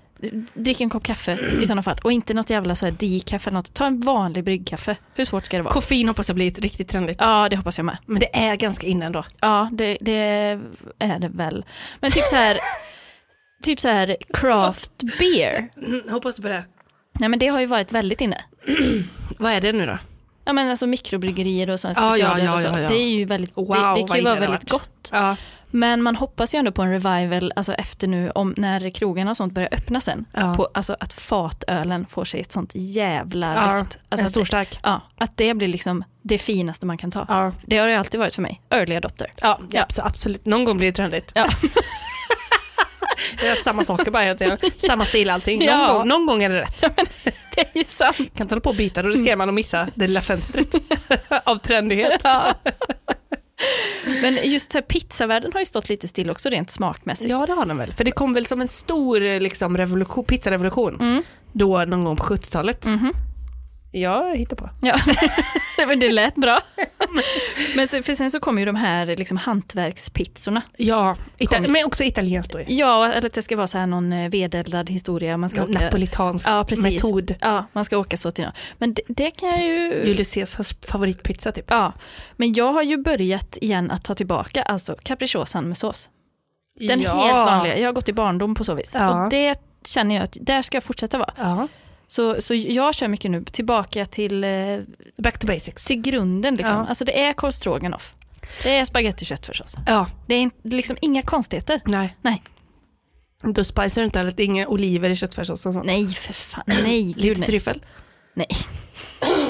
Drick en kopp kaffe i sådana fall. Och inte något jävla så här decaf eller något. Ta en vanlig bryggkaffe. Hur svårt ska det vara? Koffein hoppas jag blir riktigt trendigt. Ja, det hoppas jag med. Men det är ganska inne ändå. Ja, det, det är det väl. Men typ så här, typ så här craft beer. hoppas på det. Nej, men det har ju varit väldigt inne. Vad är det nu då? Ja, men alltså mikrobryggerier och sådana Ja, ja, specialer ja, och så. ja, ja. Det är ju väldigt, Wow, det, det vad kan ju inne vara det har väldigt varit. gott. Ja. Men man hoppas ju ändå på en revival alltså efter nu om när krogarna och sånt börjar öppna sen. Ja. På, alltså att fatölen får sig ett sånt jävla Ja, lyft. Alltså en att stor det- stark. Ja, att det blir liksom det finaste man kan ta. Ja. Det har det alltid varit för mig. Early adopter. Ja, Ja. abso- absolut. Någon gång blir det trendigt. Ja. Jag gör samma saker bara hela tiden. Samma stil allting. Någon, Ja. gång, någon gång är det rätt. Det är ju sant. Kan inte hålla på och byta, då riskerar man att missa det lilla fönstret av trendighet. Men just så här, pizzavärlden har ju stått lite still också rent smakmässigt. Ja, det har den väl. För det kom väl som en stor eh, liksom, revolution, pizzarevolution Mm. då Mhm. någon gång på 70-talet. Jag hittar på. Ja. men det lät bra. Men sen, för sen så kommer ju de här liksom hantverkspizzorna. Ja, Ita- Kom- men också italienskt då. ju. Ja, eller att det ska vara så här någon eh, vedeldad historia. Man ska åka, Napolitansk ja, precis. metod. Ja, man ska åka så till någon. Men det, det kan jag ju... Julius Caesars favoritpizza typ. Ja, men jag har ju börjat igen att ta tillbaka alltså capricciosan med sås. Den helt vanliga, jag har gått i barndom på så vis. Ja. Och det känner jag att där ska jag fortsätta vara. Ja. Så, så jag kör mycket nu tillbaka till, eh, Back to basics. till grunden. Liksom. Ja. Alltså det är korv stroganoff. Det är spagetti och köttfärssås. Ja, Det är in, liksom inga konstigheter. nej. Nej, Då spicar du inte allt, inga oliver i köttfärssåsen och sånt. nej för fan. Nej, gud Lite nej. tryffel. nej.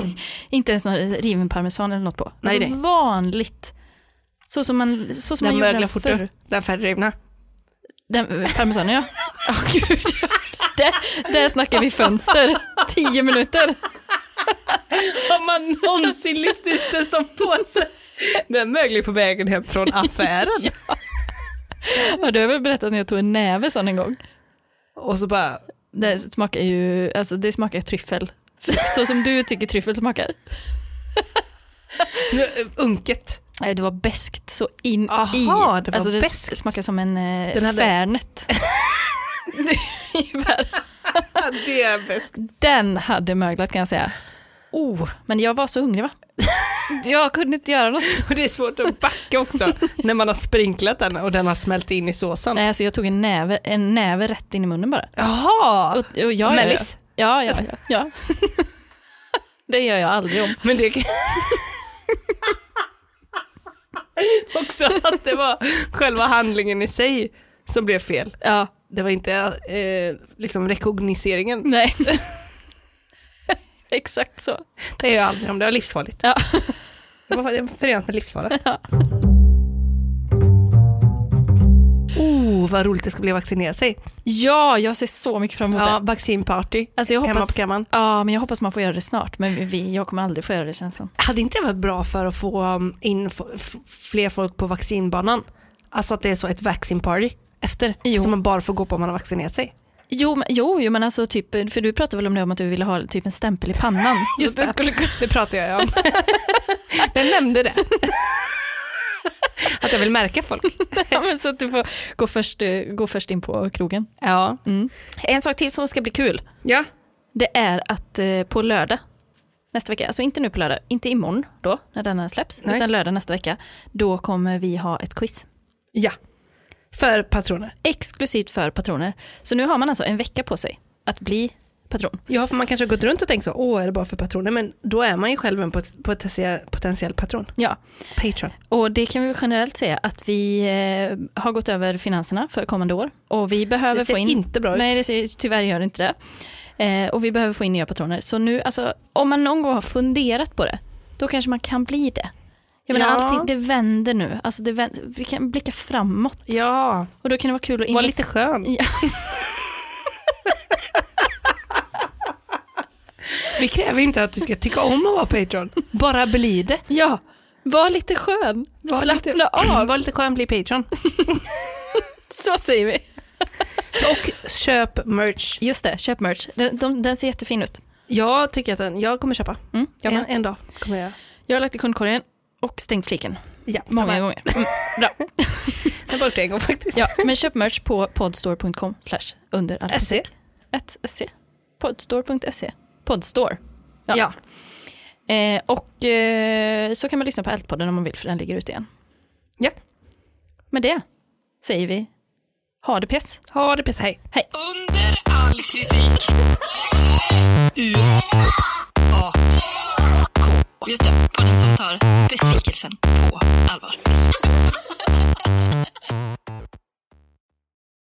Inte ens någon riven parmesan eller något på. Nej, alltså nej. vanligt. Så som man, så som man Den gjorde möglar den fort förr. upp. Den färdigrivna. Den, parmesanen ja. Oh, gud. Där, där snackar vi fönster. Tio minuter. Har man någonsin lyft ut en sån påse? Den möglar på vägen hem från affären. Ja, du har väl berättat när jag tog en näve sån en gång. Och så bara, Det smakar ju alltså, det smakar tryffel. Så som du tycker tryffel smakar. nu, unket. Nej, Eh, det var beskt så in Aha, i. det var alltså, det beskt. smakar som en eh, Den hade- Fernet. Ungefär. det är bäst. Den hade möglat kan jag säga. Oh, men jag var så hungrig va? Jag kunde inte göra något. Och det är svårt att backa också när man har sprinklat den och den har smält in i såsen. Nej, alltså, jag tog en näve, en näve rätt in i munnen bara. Jaha, Och, och jag, Mellis. Ja, ja, ja. ja. det gör jag aldrig om. men det kan... också att det var själva handlingen i sig som blev fel. Ja, Det var inte eh, liksom rekogniseringen. nej. Exakt så. Det är jag aldrig om, det var livsfarligt. Ja. Det var det var förenat med livsfara. Ja. Oh, vad roligt det ska bli att vaccinera sig. Ja, jag ser så mycket fram emot Ja, det. vaccinparty. Alltså jag Hemma hoppas, på kammaren. ja, men jag hoppas man får göra det snart, men vi, jag kommer aldrig få göra det känns som. Hade inte det varit bra för att få um, in f- f- fler folk på vaccinbanan? Alltså att det är så ett vaccinparty efter, Jo. som man bara får gå på om man har vaccinerat sig. Jo, men, jo, jo, men alltså typ, för du pratade väl om det om att du ville ha typ en stämpel i pannan? Just Så att det. du skulle kunna- Det pratade jag om. jag nämnde det. att jag vill märka folk. ja, men så att du får gå först, eh, gå först in på krogen. Mm. Ja. En sak till som ska bli kul, ja. det är att eh, på lördag nästa vecka, alltså inte nu på lördag, inte imorgon då när denna släpps, Nej. utan lördag nästa vecka, då kommer vi ha ett quiz. Ja. För patroner. exklusivt för patroner. Så nu har man alltså en vecka på sig att bli patron. Ja, för man kanske har gått runt och tänkt så, åh är det bara för patroner? Men då är man ju själv en pot- potentiell, potentiell patron. Ja, Patron. och det kan vi väl generellt säga att vi eh, har gått över finanserna för kommande år och vi behöver Det ser få in... inte bra ut. Nej, det ser, tyvärr gör det inte det. Eh, och vi behöver få in nya patroner. Så nu, alltså, om man någon gång har funderat på det, då kanske man kan bli det. Jag menar, Ja. allting, det vänder nu. Alltså, det vänder, vi kan blicka framåt Ja, och då kan det vara kul att var investera- lite skön. Ja. Vi kräver inte att du ska tycka om att vara Patreon, bara bli det. Ja, var lite skön. Var Slappna lite- av. Var lite skön, bli Patreon. Så säger vi. Och köp merch. Just det, köp merch. Den, de, den ser jättefin ut. Jag tycker att den, jag kommer köpa. Mm, jag, En, med. en dag kommer jag. jag har lagt i kundkorgen och stängt fliken. Ja, Många samma. gånger. Mm, bra. Jag har bara gjort det en gång faktiskt. Ja, men köp merch på podstore.com slash under all E. SE. musik. Ett SE. Podstore.se. E. Podstore. Ja. Ja. Eh, och eh, så kan man lyssna på Eldpodden om man vill för den ligger ute igen. Ja. Med det säger vi ha det pess. Ha det bäst, hej. Under all kritik. U A K. Just det, podden som tar besvikelsen på allvar.